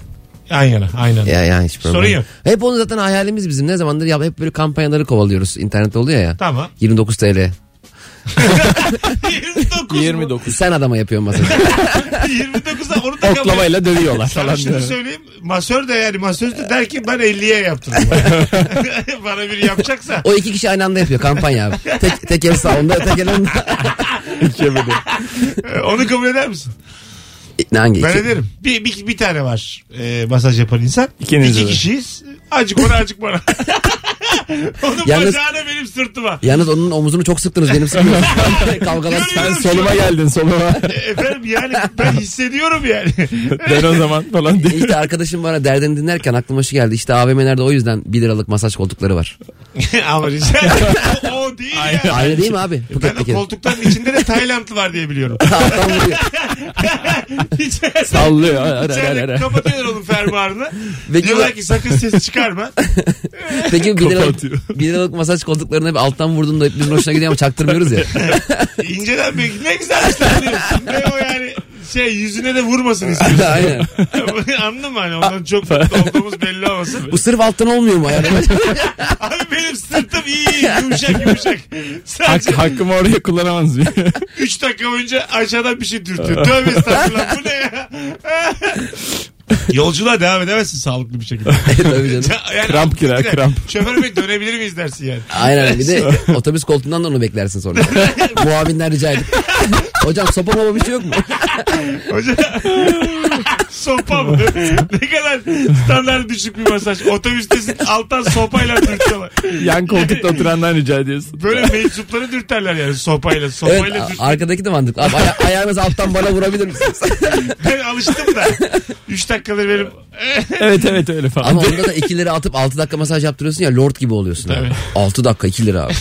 Speaker 2: Yan yana. Aynen.
Speaker 4: Ya, yani hiç problem.
Speaker 2: Sorun yok.
Speaker 4: Hep onu zaten hayalimiz bizim. Ne zamandır ya hep böyle kampanyaları kovalıyoruz. İnternette oluyor ya.
Speaker 2: Tamam.
Speaker 4: 29 TL.
Speaker 2: 29. 29.
Speaker 3: 29.
Speaker 4: Sen adama yapıyorsun masajı.
Speaker 2: 29'da onu da kabul et.
Speaker 3: Oklavayla dövüyorlar
Speaker 2: Sana
Speaker 3: falan.
Speaker 2: şunu
Speaker 3: diyor.
Speaker 2: söyleyeyim. Masör de yani masöz de der ki ben 50'ye yaptırdım. Bana biri yapacaksa.
Speaker 4: o iki kişi aynı anda yapıyor kampanya abi. Tek, tek el sağında öteki el onda.
Speaker 2: e, Onu kabul eder misin?
Speaker 4: E, Ne hangi?
Speaker 2: Ben
Speaker 4: iki?
Speaker 2: ederim. Bir, bir, bir tane var e, masaj yapan insan.
Speaker 3: İkiniz
Speaker 2: İki
Speaker 3: de.
Speaker 2: kişiyiz. Acık ona acık bana. Onun
Speaker 4: Yalnız-
Speaker 2: bacağına benim sırtıma.
Speaker 4: Yalnız onun omuzunu çok sıktınız benim sıkmıyorum. Kavgalar.
Speaker 3: Sen soluma geldin soluma.
Speaker 2: E, Efendim yani ben hissediyorum yani.
Speaker 3: ben o zaman falan diyor.
Speaker 4: İşte arkadaşım bana derdini dinlerken aklıma şu geldi. İşte AVM'lerde o yüzden 1 liralık masaj koltukları var.
Speaker 2: Ama rica o, o değil ya.
Speaker 4: Aynı değil mi abi?
Speaker 2: Şey, e, Ben o
Speaker 4: Phuket
Speaker 2: koltukların içinde de Taylandlı var diye biliyorum.
Speaker 4: Alttan vuruyor.
Speaker 2: Hiç
Speaker 3: Sallıyor. Ara, ara,
Speaker 2: İçeride
Speaker 3: ara, ara.
Speaker 2: kapatıyorlar onun fermuarını.
Speaker 4: Ve
Speaker 2: Diyorlar
Speaker 4: gibi-
Speaker 2: ki sakın ses çıkarma.
Speaker 4: Peki 1 liralık,
Speaker 3: Kapatıyor.
Speaker 4: bir liralık masaj koltuklarını hep alttan vurduğunda hepimizin hoşuna gidiyor ama çaktırmıyoruz ya.
Speaker 2: İnceden bir ne güzel işler diyorsun. Ve o yani şey yüzüne de vurmasın istiyorsun.
Speaker 4: Aynen.
Speaker 2: Anladın mı hani ondan çok mutlu olduğumuz belli olmasın.
Speaker 4: Bu sırf alttan olmuyor mu yani?
Speaker 2: Abi benim sırtım iyi iyi, yumuşak yumuşak.
Speaker 3: Hak,
Speaker 2: Sadece
Speaker 3: hakkımı oraya kullanamaz mıyım?
Speaker 2: 3 dakika boyunca aşağıdan bir şey dürtüyor. Tövbe estağfurullah bu ne ya? Yolculuğa devam edemezsin sağlıklı bir şekilde.
Speaker 4: Tabii canım.
Speaker 2: Yani
Speaker 3: Kramp girer,
Speaker 2: bir de
Speaker 3: kramp.
Speaker 2: Şoför bey dönebilir miyiz dersin yani.
Speaker 4: Aynen bir de otobüs koltuğundan da onu beklersin sonra. Muavinden rica edip. Hocam sopa baba bir şey yok mu?
Speaker 2: Hoca sopa mı? ne kadar standart düşük bir masaj. Otobüstesin alttan sopayla dürtüyorlar.
Speaker 3: Yan koltukta oturandan rica ediyorsun.
Speaker 2: Böyle meczupları dürterler yani sopayla.
Speaker 4: Evet
Speaker 2: Sopayla
Speaker 4: a- arkadaki de mantıklı. Abi, aya- ayağınızı alttan bana vurabilir misiniz?
Speaker 2: dürt. Ben alıştım da. 3 dakikadır benim.
Speaker 3: Evet evet öyle falan.
Speaker 4: Ama onda da 2 lira atıp 6 dakika masaj yaptırıyorsun ya lord gibi oluyorsun abi. 6 dakika 2 lira abi.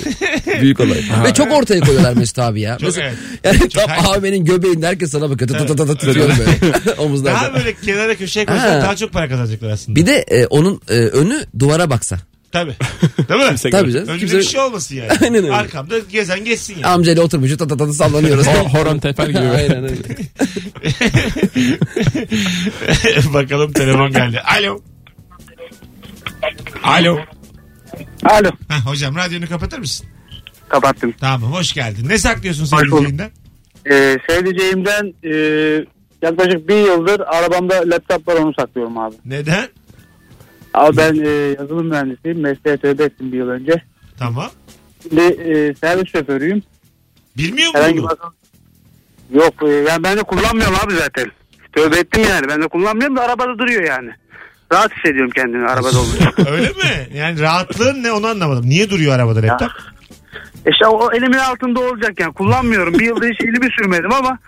Speaker 4: Büyük olay. Ve çok ortaya koyuyorlar Mesut abi ya. Mesela,
Speaker 2: evet.
Speaker 4: yani tam AVM'nin göbeğinde herkes sana bakıyor. Tı tı tı tı tı tı diyor böyle.
Speaker 2: Daha
Speaker 4: Omuzlarda.
Speaker 2: böyle kenara köşeye koysan
Speaker 4: Ha.
Speaker 2: daha çok para kazanacaklar aslında.
Speaker 4: Bir de e, onun e, önü duvara baksa.
Speaker 2: Tabii. Değil mi?
Speaker 4: Tabii canım.
Speaker 2: Önümde
Speaker 4: Kimse-
Speaker 2: bir şey olmasın yani.
Speaker 4: Aynen öyle.
Speaker 2: Arkamda gezen geçsin yani.
Speaker 4: Amcayla oturmuş tı tı tı tı sallanıyoruz.
Speaker 2: Oh,
Speaker 3: Ho- horon teper gibi.
Speaker 4: Aynen öyle.
Speaker 2: Bakalım telefon geldi. Alo. Alo.
Speaker 8: Alo.
Speaker 2: Heh, hocam radyonu kapatır mısın?
Speaker 8: Kapattım.
Speaker 2: Tamam hoş geldin. Ne saklıyorsun
Speaker 8: Hoş bulduk.
Speaker 2: sevdiceğinden?
Speaker 8: Ee, sevdiceğimden e, yaklaşık bir yıldır arabamda laptop var onu saklıyorum abi.
Speaker 2: Neden?
Speaker 8: Abi ben e, yazılım mühendisiyim. Mesleğe tövbe ettim bir yıl önce.
Speaker 2: Tamam.
Speaker 8: Şimdi e, servis şoförüyüm.
Speaker 2: Bilmiyor
Speaker 8: Herhangi
Speaker 2: musun?
Speaker 8: bir Yok e, yani ben de kullanmıyorum abi zaten. Tövbe ettim yani. Ben de kullanmıyorum da arabada duruyor yani. Rahat hissediyorum kendimi arabada olunca.
Speaker 2: Öyle mi? Yani rahatlığın ne onu anlamadım. Niye duruyor arabada laptop?
Speaker 8: İşte E o elimin altında olacak yani. Kullanmıyorum. Bir yılda hiç elimi sürmedim ama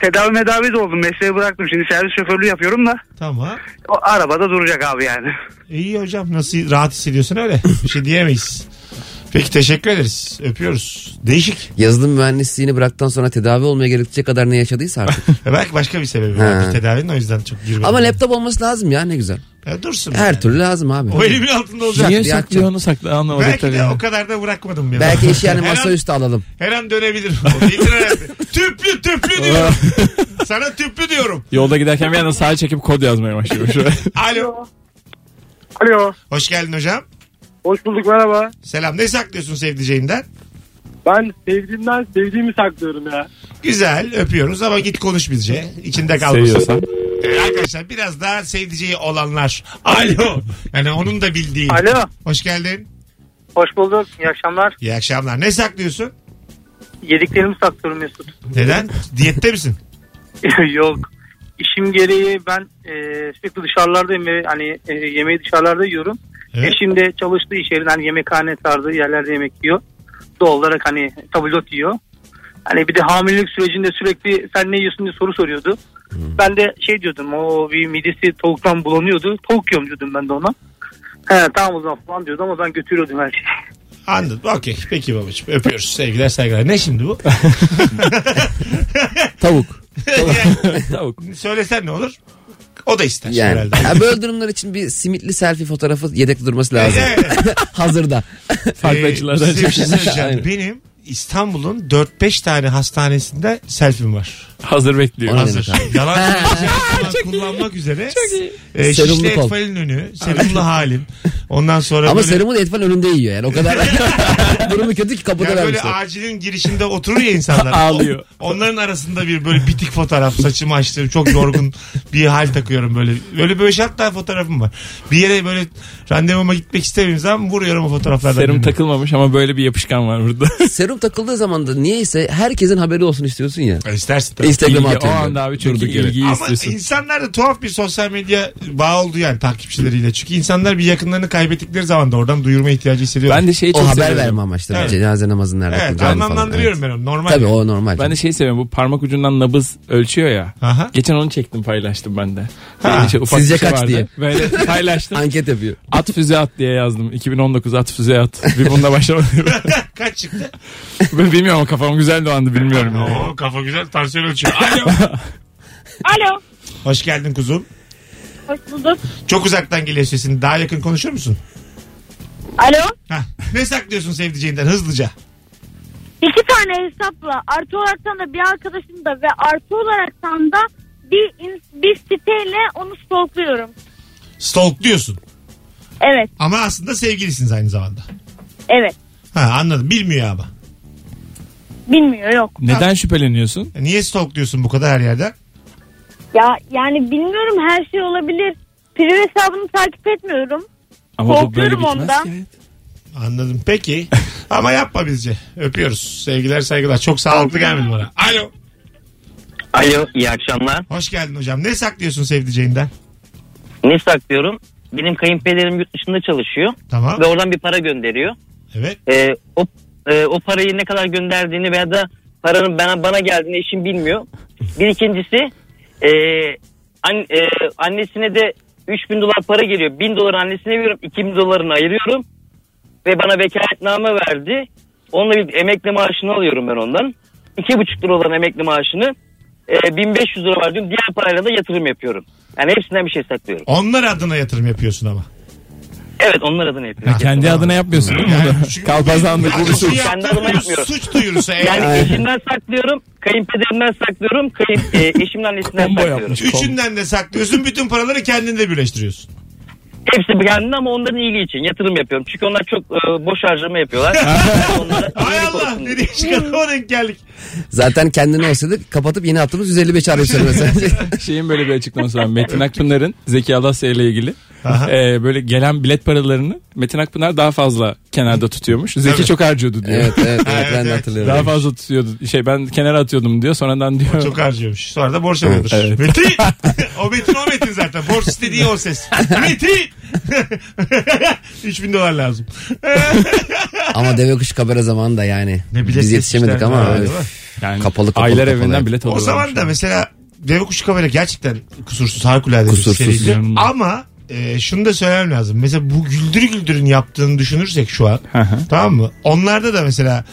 Speaker 8: tedavi medavi de oldum. Mesleği bıraktım. Şimdi servis şoförlüğü yapıyorum da
Speaker 2: Tamam.
Speaker 8: o arabada duracak abi yani.
Speaker 2: İyi hocam nasıl rahat hissediyorsun öyle. Bir şey diyemeyiz. Peki teşekkür ederiz. Öpüyoruz. Değişik.
Speaker 4: Yazılım mühendisliğini bıraktıktan sonra tedavi olmaya gerekecek kadar ne yaşadıysa artık.
Speaker 2: E Belki başka bir sebebi var.
Speaker 4: Ha.
Speaker 2: Tedavinin o yüzden çok girmedim.
Speaker 4: Ama laptop olması lazım ya ne güzel.
Speaker 2: E, dursun. yani.
Speaker 4: Her türlü lazım abi.
Speaker 2: O elimin altında olacak.
Speaker 3: Niye
Speaker 4: bir
Speaker 3: saklıyor
Speaker 4: akşam.
Speaker 3: onu sakla anlamadık
Speaker 2: Belki
Speaker 3: tabii.
Speaker 2: de o kadar da bırakmadım. ya.
Speaker 4: Belki işi yani
Speaker 2: Her an-
Speaker 4: masaüstü alalım.
Speaker 2: Her an dönebilir. O değildir herhalde. tüplü tüplü diyorum. Sana tüplü diyorum.
Speaker 3: Yolda giderken bir anda sağa çekip kod yazmaya başlıyor. Şöyle.
Speaker 2: Alo.
Speaker 8: Alo.
Speaker 2: Hoş geldin hocam.
Speaker 8: Hoş bulduk merhaba.
Speaker 2: Selam. Ne saklıyorsun sevdiceğinden?
Speaker 8: Ben sevdiğimden sevdiğimi saklıyorum ya.
Speaker 2: Güzel öpüyoruz ama git konuş bizce. İçinde kalmasın.
Speaker 3: Seviyorsan.
Speaker 2: Ee, arkadaşlar biraz daha sevdiceği olanlar. Alo. Yani onun da bildiği.
Speaker 8: Alo.
Speaker 2: Hoş geldin.
Speaker 8: Hoş bulduk. İyi akşamlar.
Speaker 2: İyi akşamlar. Ne saklıyorsun?
Speaker 8: Yediklerimi saklıyorum Mesut.
Speaker 2: Neden? Diyette misin?
Speaker 8: Yok. İşim gereği ben e, sürekli dışarılardayım ve hani e, yemeği dışarılarda yiyorum.
Speaker 2: Evet.
Speaker 8: Eşim de çalıştığı iş yerinden yemekhane tarzı yerlerde yemek yiyor. Doğal olarak hani tabulot yiyor. Hani bir de hamilelik sürecinde sürekli sen ne yiyorsun diye soru soruyordu. Ben de şey diyordum o bir midesi tavuktan bulanıyordu. Tavuk yiyorum diyordum ben de ona. He tamam o zaman falan diyordu ama ben götürüyordum her şeyi.
Speaker 2: Anladım. Okey. Peki babacığım. Öpüyoruz. Sevgiler saygılar. Ne şimdi bu?
Speaker 4: Tavuk.
Speaker 3: Tavuk.
Speaker 2: Söylesen ne olur? O da ister
Speaker 4: Yani.
Speaker 2: herhalde.
Speaker 4: Ha, böyle durumlar için bir simitli selfie fotoğrafı yedekte durması lazım.
Speaker 2: Evet.
Speaker 4: Hazırda.
Speaker 3: Farklı
Speaker 2: Ee,
Speaker 3: açılardan
Speaker 2: size bir şey
Speaker 3: çekilmiş.
Speaker 2: söyleyeceğim.
Speaker 4: Aynen.
Speaker 2: Benim İstanbul'un 4-5 tane hastanesinde selfim var.
Speaker 3: Hazır bekliyor.
Speaker 4: Ona-
Speaker 3: Hazır.
Speaker 2: Hazır. Yalan söyleyeceğim zaman kullanmak üzere. E,
Speaker 4: Serumlu
Speaker 2: şişli
Speaker 4: kol.
Speaker 2: etfalin önü, serumlu halim. Ondan sonra
Speaker 4: Ama
Speaker 2: böyle,
Speaker 4: serumu da etfal önünde yiyor yani. O kadar durumu kötü ki kapıda
Speaker 2: yani böyle
Speaker 4: vermişler.
Speaker 2: acilin girişinde oturur ya insanlar.
Speaker 3: Ağlıyor.
Speaker 2: O- Onların arasında bir böyle bitik fotoğraf. Saçımı açtım. Çok yorgun bir hal takıyorum böyle. Böyle böyle şart tane fotoğrafım var. Bir yere böyle randevuma gitmek istemiyorum zaman vuruyorum o fotoğraflardan.
Speaker 3: Serum
Speaker 2: birini.
Speaker 3: takılmamış ama böyle bir yapışkan var burada.
Speaker 4: Serum takıldığı zaman da niyeyse herkesin haberi olsun istiyorsun ya.
Speaker 2: E, İstersin tabii.
Speaker 4: Instagram'a
Speaker 3: İlgi, o
Speaker 4: atıyorum.
Speaker 3: anda abi çünkü
Speaker 4: Durduk yere.
Speaker 3: ilgiyi
Speaker 2: Ama
Speaker 3: istiyorsun.
Speaker 2: insanlar da tuhaf bir sosyal medya bağı oldu yani takipçileriyle. Çünkü insanlar bir yakınlarını kaybettikleri zaman da oradan duyurma ihtiyacı hissediyorlar.
Speaker 3: Ben de şeyi çok
Speaker 4: O haber
Speaker 3: seviyorum.
Speaker 4: verme amaçlı.
Speaker 2: Evet.
Speaker 4: Cenaze namazını nerede
Speaker 2: Evet
Speaker 4: kılacağını falan.
Speaker 2: anlamlandırıyorum ben onu. Normal.
Speaker 4: Evet. Tabii o normal.
Speaker 3: Ben de şey seviyorum bu parmak ucundan nabız ölçüyor ya.
Speaker 2: Aha.
Speaker 3: Geçen onu çektim paylaştım ben de.
Speaker 2: Ha.
Speaker 3: Benim için ufak
Speaker 4: Sizce
Speaker 3: bir şey
Speaker 4: kaç
Speaker 3: vardı.
Speaker 4: diye?
Speaker 3: Böyle paylaştım.
Speaker 4: Anket yapıyor.
Speaker 3: at füze at diye yazdım. 2019 at füze at. Bir bununla başlamadım.
Speaker 2: Kaç çıktı?
Speaker 3: Ben bilmiyorum ama kafam güzel doğandı bilmiyorum. yani.
Speaker 2: Oo, kafa güzel tansiyon ölçüyor. Alo.
Speaker 6: Alo.
Speaker 2: Hoş geldin kuzum.
Speaker 6: Hoş bulduk.
Speaker 2: Çok uzaktan geliyor sesin. Daha yakın konuşur musun?
Speaker 6: Alo.
Speaker 2: Hah. Ne saklıyorsun sevdiceğinden hızlıca?
Speaker 6: İki tane hesapla artı olaraktan da bir arkadaşım da ve artı olaraktan da bir, in- bir siteyle onu stalkluyorum.
Speaker 2: Stalkluyorsun.
Speaker 6: Evet,
Speaker 2: Ama aslında sevgilisiniz aynı zamanda.
Speaker 6: evet.
Speaker 2: Ha anladım. Bilmiyor ama.
Speaker 6: Bilmiyor yok.
Speaker 3: Neden şüpheleniyorsun?
Speaker 2: E, Niye stalkluyorsun bu kadar her yerde?
Speaker 6: Ya yani bilmiyorum her şey olabilir. Priv hesabını takip etmiyorum.
Speaker 3: Ama bu böyle
Speaker 6: Korkuyorum
Speaker 3: bitmez
Speaker 6: ondan.
Speaker 3: ki.
Speaker 2: Anladım. Peki. ama yapma bizce. Öpüyoruz. Sevgiler saygılar. Çok sağlıklı gelmedi bana. Alo.
Speaker 8: Alo iyi akşamlar.
Speaker 2: Hoş geldin hocam. Ne saklıyorsun sevdiceğinden?
Speaker 8: Ne saklıyorum? Benim kayınpederim yurt dışında çalışıyor
Speaker 2: Tamam.
Speaker 8: ve oradan bir para gönderiyor.
Speaker 2: Evet.
Speaker 8: Ee, o e, o parayı ne kadar gönderdiğini veya da paranın bana bana geldiğini eşim bilmiyor. Bir ikincisi e, an- e, annesine de 3000 dolar para geliyor. 1000 dolar annesine veriyorum. 2000 dolarını ayırıyorum. Ve bana vekaletname verdi. Onunla bir emekli maaşını alıyorum ben ondan. 2,5 lira olan emekli maaşını e, 1500 lira verdim. Diğer parayla da yatırım yapıyorum. Yani hepsinden bir şey saklıyorum.
Speaker 2: Onlar adına yatırım yapıyorsun ama.
Speaker 8: Evet onlar adına yapıyorum.
Speaker 3: Kendi adına yapmıyorsun değil mi
Speaker 2: Yani
Speaker 3: bunu?
Speaker 2: çünkü-
Speaker 3: Kalpazanlık bu bir
Speaker 2: Suç
Speaker 3: suç.
Speaker 8: Kendi
Speaker 2: yaptığın
Speaker 8: adıma
Speaker 2: bir
Speaker 8: yapmıyorum.
Speaker 2: Suç duyurusu eğer.
Speaker 8: Yani eşimden saklıyorum, kayınpederimden saklıyorum, kayın, e, eşimin annesinden
Speaker 3: Combo
Speaker 8: saklıyorum.
Speaker 3: yapmış.
Speaker 2: Üçünden de saklıyorsun. Bütün paraları kendinde birleştiriyorsun.
Speaker 8: Hepsi beğendi ama onların iyiliği için yatırım yapıyorum. Çünkü onlar çok e, boş harcama yapıyorlar. Onlara
Speaker 2: Hay
Speaker 8: iyilik
Speaker 2: Allah
Speaker 8: olsun.
Speaker 2: nereye çıkalım denk geldik.
Speaker 4: Zaten kendini olsaydı kapatıp yeni attığımız 155 arayışları mesela.
Speaker 3: Şeyin böyle bir açıklaması var. Metin Akpınar'ın Zeki Alasya ile ilgili
Speaker 2: Aha.
Speaker 3: e, böyle gelen bilet paralarını Metin Akpınar daha fazla kenarda tutuyormuş. Zeki
Speaker 2: Tabii.
Speaker 3: çok harcıyordu diyor.
Speaker 4: evet evet, evet,
Speaker 2: evet.
Speaker 4: ben de
Speaker 3: Daha
Speaker 4: hatırlıyorum.
Speaker 3: fazla tutuyordu. Şey ben kenara atıyordum diyor. Sonradan diyor.
Speaker 2: Çok harcıyormuş. Sonra da borç alıyordur.
Speaker 3: Evet.
Speaker 2: Metin. o Metin o Metin zaten. Borç istediği o ses. Metin. 3000 dolar lazım.
Speaker 4: ama deve kuş kamera zamanında yani.
Speaker 2: Ne bilet
Speaker 4: Biz yetişemedik
Speaker 2: seçmişler.
Speaker 4: ama
Speaker 2: Ha,
Speaker 4: öf.
Speaker 2: değil mi?
Speaker 3: Yani
Speaker 4: Kapalı, kapalı,
Speaker 3: Aylar
Speaker 4: kapalı.
Speaker 3: evinden bilet
Speaker 2: O
Speaker 3: alıyorlar.
Speaker 2: zaman da mesela Deve Kuşu Kamera gerçekten kusursuz harikulade
Speaker 4: Kusursuz.
Speaker 2: bir seriydi.
Speaker 3: İnanılmaz.
Speaker 2: Ama e, şunu da söylemem lazım. Mesela bu güldürü güldürün yaptığını düşünürsek şu an. tamam mı? Onlarda da mesela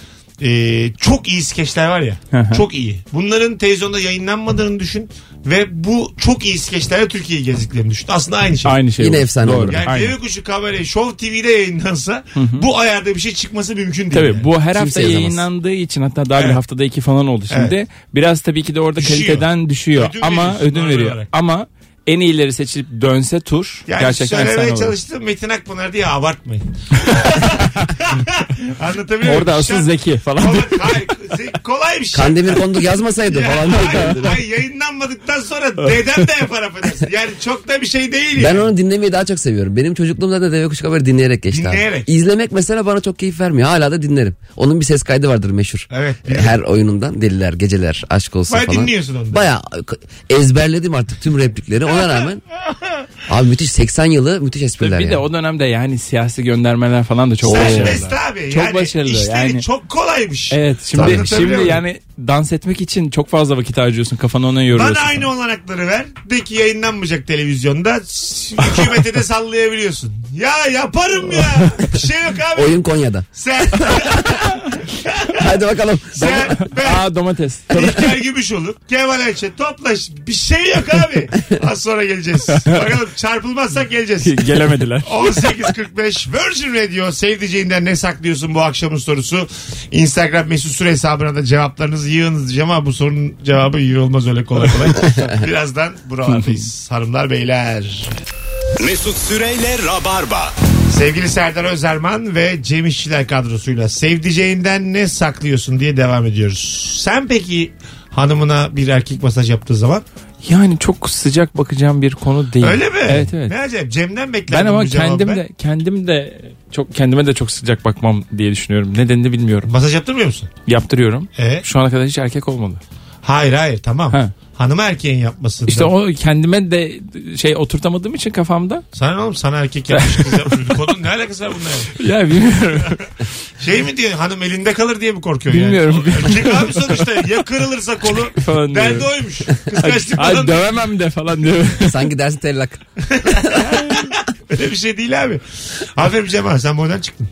Speaker 2: e, çok iyi skeçler var ya. çok iyi. Bunların televizyonda yayınlanmadığını düşün. Ve bu çok iyi skeçlerle Türkiye'yi gezdiklerini düşün. Aslında aynı şey.
Speaker 3: Aynı şey.
Speaker 4: Yine
Speaker 3: bu.
Speaker 4: efsane
Speaker 3: Doğru.
Speaker 4: olur.
Speaker 2: Yani
Speaker 3: Aynen.
Speaker 2: Deve Kuşu Kamera'yı Show TV'de yayınlansa bu ayarda bir şey çıkması mümkün değil.
Speaker 3: Tabii
Speaker 2: yani.
Speaker 3: bu her hafta
Speaker 4: yazamaz.
Speaker 3: yayınlandığı için hatta daha
Speaker 2: Evet.
Speaker 3: bir haftada iki falan oldu şimdi. Biraz tabii ki de orada
Speaker 2: Düşüyor.
Speaker 3: kaliteden düşüyor
Speaker 2: Ödün
Speaker 3: ama
Speaker 2: veriyorsun
Speaker 3: ödün
Speaker 2: normal
Speaker 3: veriyor.
Speaker 2: olarak.
Speaker 3: Ama en iyileri seçilip dönse tur
Speaker 2: Yani
Speaker 3: gerçekten efsane
Speaker 2: söylemeye
Speaker 3: olur.
Speaker 2: çalıştım Metin Akpınar diye abartmayın. Anlatabiliyor muyum?
Speaker 3: Orada asıl
Speaker 2: Şan-
Speaker 3: zeki falan.
Speaker 2: Kolay, hayır, ze- kolay bir şey.
Speaker 4: Kandemir konduk yazmasaydı falan.
Speaker 2: Hayır, hayır, yayınlanmadıktan sonra dedem de yapar affedersin. Yani çok da bir şey değil.
Speaker 4: Ben
Speaker 2: yani.
Speaker 4: onu dinlemeyi daha çok seviyorum. Benim çocukluğumda da Deve Kuş Kaberi dinleyerek geçti. abi.
Speaker 2: Dinleyerek.
Speaker 4: İzlemek mesela bana çok keyif vermiyor. Hala da dinlerim. Onun bir ses kaydı vardır meşhur.
Speaker 2: Evet.
Speaker 4: E, Her oyunundan deliler, geceler, aşk olsun
Speaker 2: Bayağı
Speaker 4: falan.
Speaker 2: dinliyorsun onu da.
Speaker 4: Bayağı e, ezberledim artık tüm replikleri. Ona rağmen abi müthiş 80 yılı müthiş espriler.
Speaker 3: bir de
Speaker 4: yani.
Speaker 3: o dönemde yani siyasi göndermeler falan da çok
Speaker 2: Serbest
Speaker 3: başarılı.
Speaker 2: abi.
Speaker 3: Çok
Speaker 2: yani
Speaker 3: başarılı
Speaker 2: işleri
Speaker 3: yani.
Speaker 2: çok kolaymış.
Speaker 3: Evet şimdi
Speaker 2: Anlatabiliyor
Speaker 3: şimdi
Speaker 2: muyum?
Speaker 3: yani dans etmek için çok fazla vakit harcıyorsun. Kafanı ona yoruyorsun.
Speaker 2: Bana aynı olanakları ver. De ki yayınlanmayacak televizyonda. S- Hükümete de sallayabiliyorsun. Ya yaparım ya. Bir şey yok abi.
Speaker 4: Oyun Konya'da.
Speaker 2: Sen,
Speaker 4: Hadi bakalım.
Speaker 2: sen, ben.
Speaker 3: Aa domates.
Speaker 2: İlker Gümüşoluk, Kemal Ayça toplaş. Bir şey yok abi. Az sonra geleceğiz. Bakalım çarpılmazsak geleceğiz.
Speaker 3: Gelemediler.
Speaker 2: 18.45 Virgin Radio sevdiceğinden ne saklıyorsun bu akşamın sorusu. Instagram mesut süre hesabına da cevaplarınızı yığınız diyeceğim ama bu sorunun cevabı iyi olmaz öyle kolay kolay. Birazdan buralardayız hanımlar beyler.
Speaker 1: Mesut Süreyle Rabarba.
Speaker 2: Sevgili Serdar Özerman ve Cem İşçiler kadrosuyla sevdiceğinden ne saklıyorsun diye devam ediyoruz. Sen peki hanımına bir erkek masaj yaptığı zaman
Speaker 3: Yani çok sıcak bakacağım bir konu değil.
Speaker 2: öyle mi?
Speaker 3: Evet evet.
Speaker 2: Ne acayip Cem'den beklerdim
Speaker 3: Ben ama
Speaker 2: bu cevabı
Speaker 3: kendim
Speaker 2: ben.
Speaker 3: de kendim de çok kendime de çok sıcak bakmam diye düşünüyorum. Nedenini bilmiyorum.
Speaker 2: Masaj yaptırmıyor musun?
Speaker 3: Yaptırıyorum.
Speaker 2: E?
Speaker 3: Şu ana kadar hiç erkek olmadı.
Speaker 2: Hayır hayır tamam.
Speaker 3: Ha.
Speaker 2: Hanıma erkeğin yapmasın.
Speaker 3: İşte o kendime de şey oturtamadığım için kafamda.
Speaker 2: Sana ne oğlum sana erkek yapmış kız yapmış. Konunun ne alakası var bununla? ya?
Speaker 3: Ya bilmiyorum.
Speaker 2: Şey mi diyor hanım elinde kalır diye mi korkuyorsun
Speaker 3: Bilmiyorum.
Speaker 2: yani? Erkek abi sonuçta ya kırılırsa kolu
Speaker 3: Falan
Speaker 2: derdi
Speaker 3: diyor.
Speaker 2: oymuş. Kıskançlıktan
Speaker 3: Ay dövemem de falan diyor.
Speaker 4: Sanki dersin tellak.
Speaker 2: öyle bir şey değil abi. Aferin Cemal sen buradan çıktın.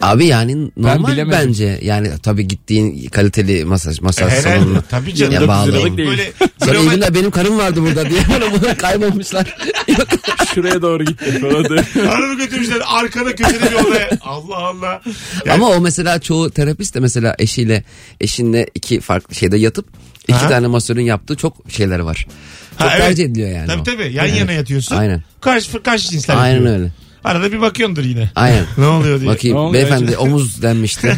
Speaker 4: Abi yani normal
Speaker 3: bilemedim.
Speaker 4: bence. Yani tabii gittiğin kaliteli masaj masaj
Speaker 2: Herhalde
Speaker 4: salonuna.
Speaker 2: tabii canım.
Speaker 4: Ya bağlı.
Speaker 2: Böyle
Speaker 3: değil.
Speaker 2: böyle
Speaker 4: Sonra iyi
Speaker 2: kilometre-
Speaker 4: günler, benim karım vardı burada diye bana bunu kaybolmuşlar. Yok.
Speaker 3: Şuraya doğru gitti falan diyor.
Speaker 2: Hanımı götürmüşler arkada köşede bir odaya. Allah Allah. Yani
Speaker 4: Ama o mesela çoğu terapist de mesela eşiyle eşinle iki farklı şeyde yatıp iki
Speaker 2: Ha.
Speaker 4: tane masörün yaptığı çok şeyler var. Çok
Speaker 2: Ha, evet.
Speaker 4: tercih ediliyor yani.
Speaker 2: tabii
Speaker 4: o.
Speaker 2: tabii yan yana yatıyorsun.
Speaker 4: Aynen.
Speaker 2: Karşı, karşı cinsler
Speaker 4: Aynen
Speaker 2: yapıyor.
Speaker 4: öyle.
Speaker 2: Arada bir bakıyordur yine.
Speaker 4: Aynen.
Speaker 2: Ne oluyor diye.
Speaker 4: Bakayım
Speaker 3: Ne oluyor
Speaker 4: beyefendi
Speaker 3: acaba?
Speaker 4: omuz denmişti.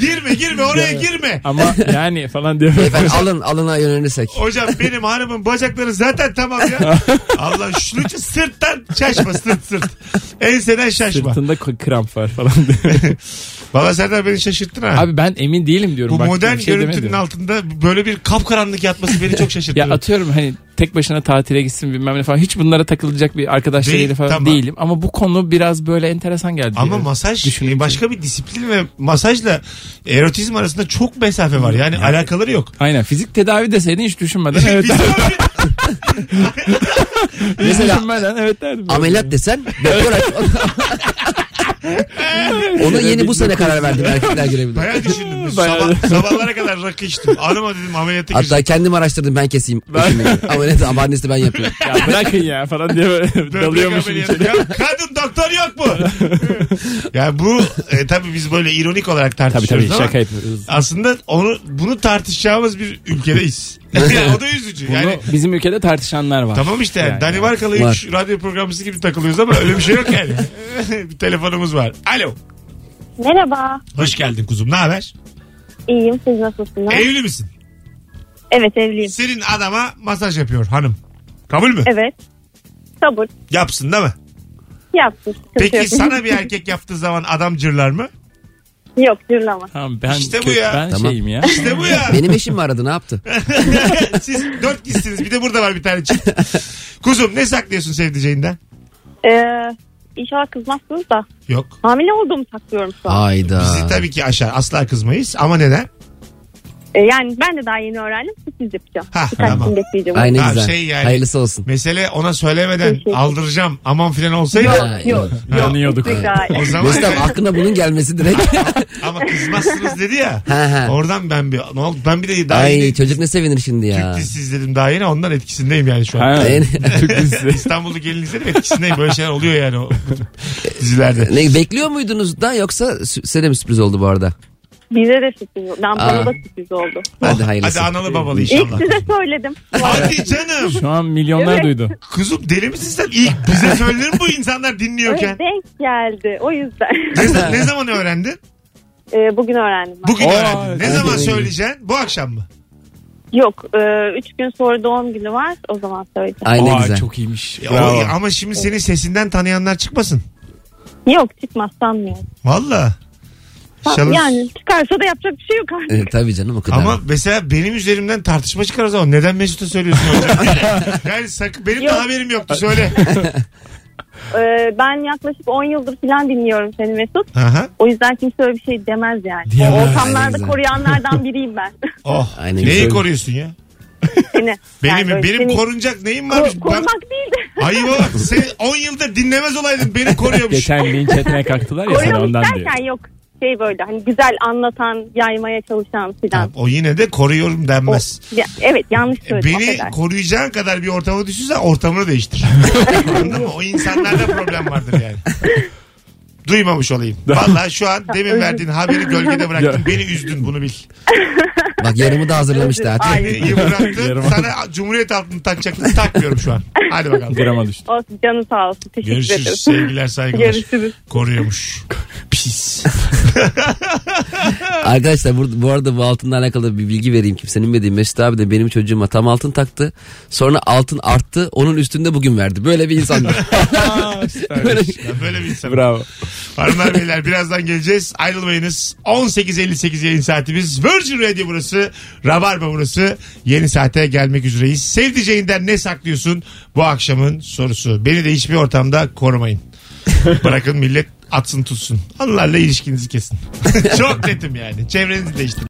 Speaker 2: Girme girme oraya girme.
Speaker 3: Ama yani falan diyor.
Speaker 4: Beyefendi alın alına yönelirsek.
Speaker 2: Hocam benim hanımın bacakları zaten tamam ya. Allah şunu için sırttan şaşma sırt sırt. Enseden şaşma.
Speaker 3: Sırtında k- kramp var falan diyor.
Speaker 2: Valla Serdar beni şaşırttın ha.
Speaker 3: Abi ben emin değilim diyorum.
Speaker 2: Bu
Speaker 3: Bak,
Speaker 2: modern
Speaker 3: bir şey
Speaker 2: görüntünün
Speaker 3: demedim.
Speaker 2: altında böyle bir kapkaranlık yatması beni çok şaşırttı.
Speaker 3: Ya atıyorum hani tek başına tatile gitsin bilmem ne falan. Hiç bunlara takılacak bir arkadaş
Speaker 2: Değil,
Speaker 3: değil, falan
Speaker 2: tamam.
Speaker 3: değilim. Ama bu konu biraz böyle enteresan geldi.
Speaker 2: Ama
Speaker 3: Yani.
Speaker 2: masaj
Speaker 3: Düşününce.
Speaker 2: e, başka bir disiplin ve masajla erotizm arasında çok mesafe var. Yani alakaları yok.
Speaker 3: Aynen fizik tedavi deseydin hiç düşünmeden evet.
Speaker 2: Biz böyle-
Speaker 3: hiç
Speaker 4: Mesela-
Speaker 3: düşünmeden evet derdim.
Speaker 4: Ameliyat desen doktor aç- Ona yeni bu sene karar verdim erkekler girebilir.
Speaker 2: Bayağı düşündüm. Biz
Speaker 3: Bayağı.
Speaker 2: Sabah, sabahlara kadar rakı içtim. Hanıma dedim ameliyata
Speaker 4: Hatta
Speaker 2: gireceğim.
Speaker 4: kendim araştırdım ben keseyim. Ameliyat abonesi ben yapıyorum.
Speaker 3: Ya bırakın ya falan diye böyle
Speaker 2: Böbrek
Speaker 3: dalıyormuşum
Speaker 2: ameliyatı.
Speaker 3: içeri.
Speaker 2: Ya kadın doktor yok mu? ya bu e, tabii biz böyle ironik olarak
Speaker 3: Tabii
Speaker 2: tartışıyoruz
Speaker 3: tabii
Speaker 2: ama
Speaker 3: şaka yapıyoruz.
Speaker 2: aslında onu bunu tartışacağımız bir ülkedeyiz. yani o da üzücü.
Speaker 3: Bunu
Speaker 2: Yani
Speaker 3: bizim ülkede tartışanlar var.
Speaker 2: Tamam işte
Speaker 3: Yani.
Speaker 2: Danimarkalı
Speaker 4: Var.
Speaker 2: üç radyo programcısı gibi takılıyoruz ama öyle bir şey yok yani. bir telefonumuz var. Alo.
Speaker 6: Merhaba.
Speaker 2: Hoş geldin kuzum. Ne haber?
Speaker 6: İyiyim siz nasılsınız?
Speaker 2: Evli misin?
Speaker 6: evet evliyim.
Speaker 2: Senin adama masaj yapıyor hanım. Kabul mü?
Speaker 6: Evet. Sabır.
Speaker 2: Yapsın değil mi?
Speaker 6: Yaptım.
Speaker 2: Peki sana bir erkek yaptığı zaman adam cırlar mı?
Speaker 6: Yok cırlama.
Speaker 3: Tamam ben
Speaker 2: İşte bu
Speaker 3: kö-
Speaker 2: ya.
Speaker 3: ben
Speaker 4: Tamam.
Speaker 3: şeyim ya.
Speaker 2: İşte bu ya.
Speaker 4: Benim eşim mi aradı ne yaptı?
Speaker 2: Siz dört kişisiniz. Bir de burada var bir tane çift. Kuzum ne saklıyorsun sevdiceğinden?
Speaker 6: Ee, inşallah kızmazsınız da.
Speaker 2: Yok.
Speaker 6: Hamile olduğumu saklıyorum şu an.
Speaker 4: Hayda.
Speaker 2: Bizi tabii ki aşar. Asla kızmayız. Ama neden?
Speaker 6: Ee, yani ben de daha yeni öğrendim. Sürpriz yapacağım.
Speaker 2: Ha,
Speaker 6: Birkaç
Speaker 2: tamam.
Speaker 6: gün bekleyeceğim.
Speaker 4: Ay ne
Speaker 2: Ha,
Speaker 4: güzel.
Speaker 2: şey yani-
Speaker 4: Hayırlısı olsun.
Speaker 2: Mesele ona söylemeden
Speaker 6: Teşekkür.
Speaker 2: aldıracağım aman filan olsaydı.
Speaker 4: Ha,
Speaker 6: yok.
Speaker 3: Yanıyorduk.
Speaker 6: Güzel.
Speaker 2: O zaman
Speaker 4: Mesut abi aklına bunun gelmesi direkt.
Speaker 2: ama kızmazsınız dedi ya.
Speaker 4: Ha, ha.
Speaker 2: Oradan ben bir ne oldu? Ben bir de daha
Speaker 4: Ay
Speaker 2: yeni
Speaker 4: çocuk ne sevinir şimdi
Speaker 2: Türk
Speaker 4: ya.
Speaker 2: dizisi izledim daha yeni ondan etkisindeyim yani şu an.
Speaker 3: Ha,
Speaker 4: En-
Speaker 3: Türk dizisi.
Speaker 2: İstanbul'da gelin izledim etkisindeyim. Böyle şeyler oluyor yani o bu tip dizilerde.
Speaker 4: Ne, bekliyor muydunuz da yoksa sü- size de mi sürpriz oldu bu arada?
Speaker 6: Bize de sürpriz oldu. Ben bana
Speaker 4: Aa.
Speaker 6: da sürpriz oldu.
Speaker 4: Hadi
Speaker 2: Oh,
Speaker 4: hayırlısı.
Speaker 2: Hadi analı babalı
Speaker 6: İlk
Speaker 2: inşallah.
Speaker 6: size söyledim.
Speaker 2: Hadi canım.
Speaker 3: Şu an milyonlar
Speaker 6: Evet.
Speaker 3: duydu.
Speaker 2: Kuzum deli misin sen? İlk bize söylenir mi bu insanlar dinliyorken?
Speaker 6: Öyle denk geldi. O yüzden.
Speaker 2: Ne, za- ne zaman öğrendin?
Speaker 6: Ee, bugün öğrendim ben.
Speaker 2: Bugün
Speaker 3: Aa,
Speaker 2: öğrendin. Ne
Speaker 4: evet.
Speaker 2: zaman
Speaker 4: Evet.
Speaker 2: söyleyeceksin? Bu akşam mı?
Speaker 6: Yok. E, üç gün sonra doğum günü var. O zaman söyleyeceğim.
Speaker 4: Ay ne
Speaker 3: Aa,
Speaker 4: güzel.
Speaker 3: Çok iyiymiş.
Speaker 2: Ya,
Speaker 3: Bravo.
Speaker 2: o- ama şimdi senin sesinden tanıyanlar çıkmasın.
Speaker 6: Yok çıkmaz sanmıyorum.
Speaker 2: Valla.
Speaker 6: Ha,
Speaker 2: Şalın-
Speaker 6: Yani çıkarsa da yapacak bir şey yok
Speaker 2: E-
Speaker 6: artık.
Speaker 4: Ee, tabii canım o kadar.
Speaker 2: Ama mesela benim üzerimden tartışma çıkar o zaman. Neden Mesut'a söylüyorsun hocam? yani sakın benim de
Speaker 6: Yok.
Speaker 2: haberim yoktu söyle.
Speaker 7: Ee, ben yaklaşık 10 yıldır falan dinliyorum seni Mesut.
Speaker 2: Aha.
Speaker 7: O yüzden kimse öyle bir şey demez yani.
Speaker 4: Diyemez.
Speaker 7: O
Speaker 4: Aynen
Speaker 7: ortamlarda
Speaker 4: güzel.
Speaker 7: koruyanlardan biriyim ben.
Speaker 2: Oh.
Speaker 4: Aynen.
Speaker 2: Neyi
Speaker 4: Güzel.
Speaker 2: koruyorsun ya?
Speaker 7: Seni.
Speaker 2: Benim
Speaker 7: Yani böyle
Speaker 2: benim
Speaker 7: seni
Speaker 2: korunacak neyim
Speaker 7: ko-
Speaker 2: varmış? Ben-
Speaker 7: korumak değil de.
Speaker 2: Ayıp bak sen 10 yılda dinlemez olaydın beni koruyormuş.
Speaker 3: Geçen linç etmeye kalktılar ya sana
Speaker 7: Koruyormuş
Speaker 3: ondan diyor.
Speaker 7: derken yok. Şey böyle hani güzel anlatan, yaymaya çalışan filan.
Speaker 2: Tamam, o yine de koruyorum
Speaker 7: O-
Speaker 2: denmez.
Speaker 7: Ya, evet yanlış söyledim.
Speaker 2: E, Beni
Speaker 7: affedersin.
Speaker 2: koruyacağın kadar bir ortama düşünsen ortamını değiştir. Anladın mı? O insanlarda problem vardır yani. Duymamış olayım. Vallahi şu an demin verdiğin haberi gölgede bıraktın.
Speaker 3: Ya.
Speaker 2: Beni üzdün bunu bil.
Speaker 4: Bak yarımı da hazırlamıştı
Speaker 7: Ay.
Speaker 4: artık.
Speaker 2: İyi bıraktın.
Speaker 3: Yarım
Speaker 2: Sana Cumhuriyet altını takacaktın. Takmıyorum şu an. Hadi bakalım.
Speaker 3: Grama düştü.
Speaker 7: Olsun canın sağ olsun. Teşekkür ederim.
Speaker 2: Görüşürüz. Sevgiler saygılar.
Speaker 7: Görüşürüz.
Speaker 2: Koruyormuş. Pis.
Speaker 4: Arkadaşlar bu, bu arada bu altınla alakalı bir bilgi vereyim kimsenin bilmediği. Mesut abi de benim çocuğuma tam altın taktı. Sonra altın arttı onun üstünde bugün verdi. Böyle bir insandı. Böyle-
Speaker 2: Ben böyle bir insanım.
Speaker 3: Bravo.
Speaker 2: Hanımlar beyler birazdan geleceğiz. Ayrılmayınız. 18.58 yayın saatimiz. Virgin Radio burası. Rabarba burası. Yeni saate gelmek üzereyiz. Sevdiceğinden ne saklıyorsun? Bu akşamın sorusu. Beni de hiçbir ortamda korumayın. Bırakın millet atsın tutsun. Onlarla ilişkinizi kesin. Çok netim yani. Çevrenizi değiştirin.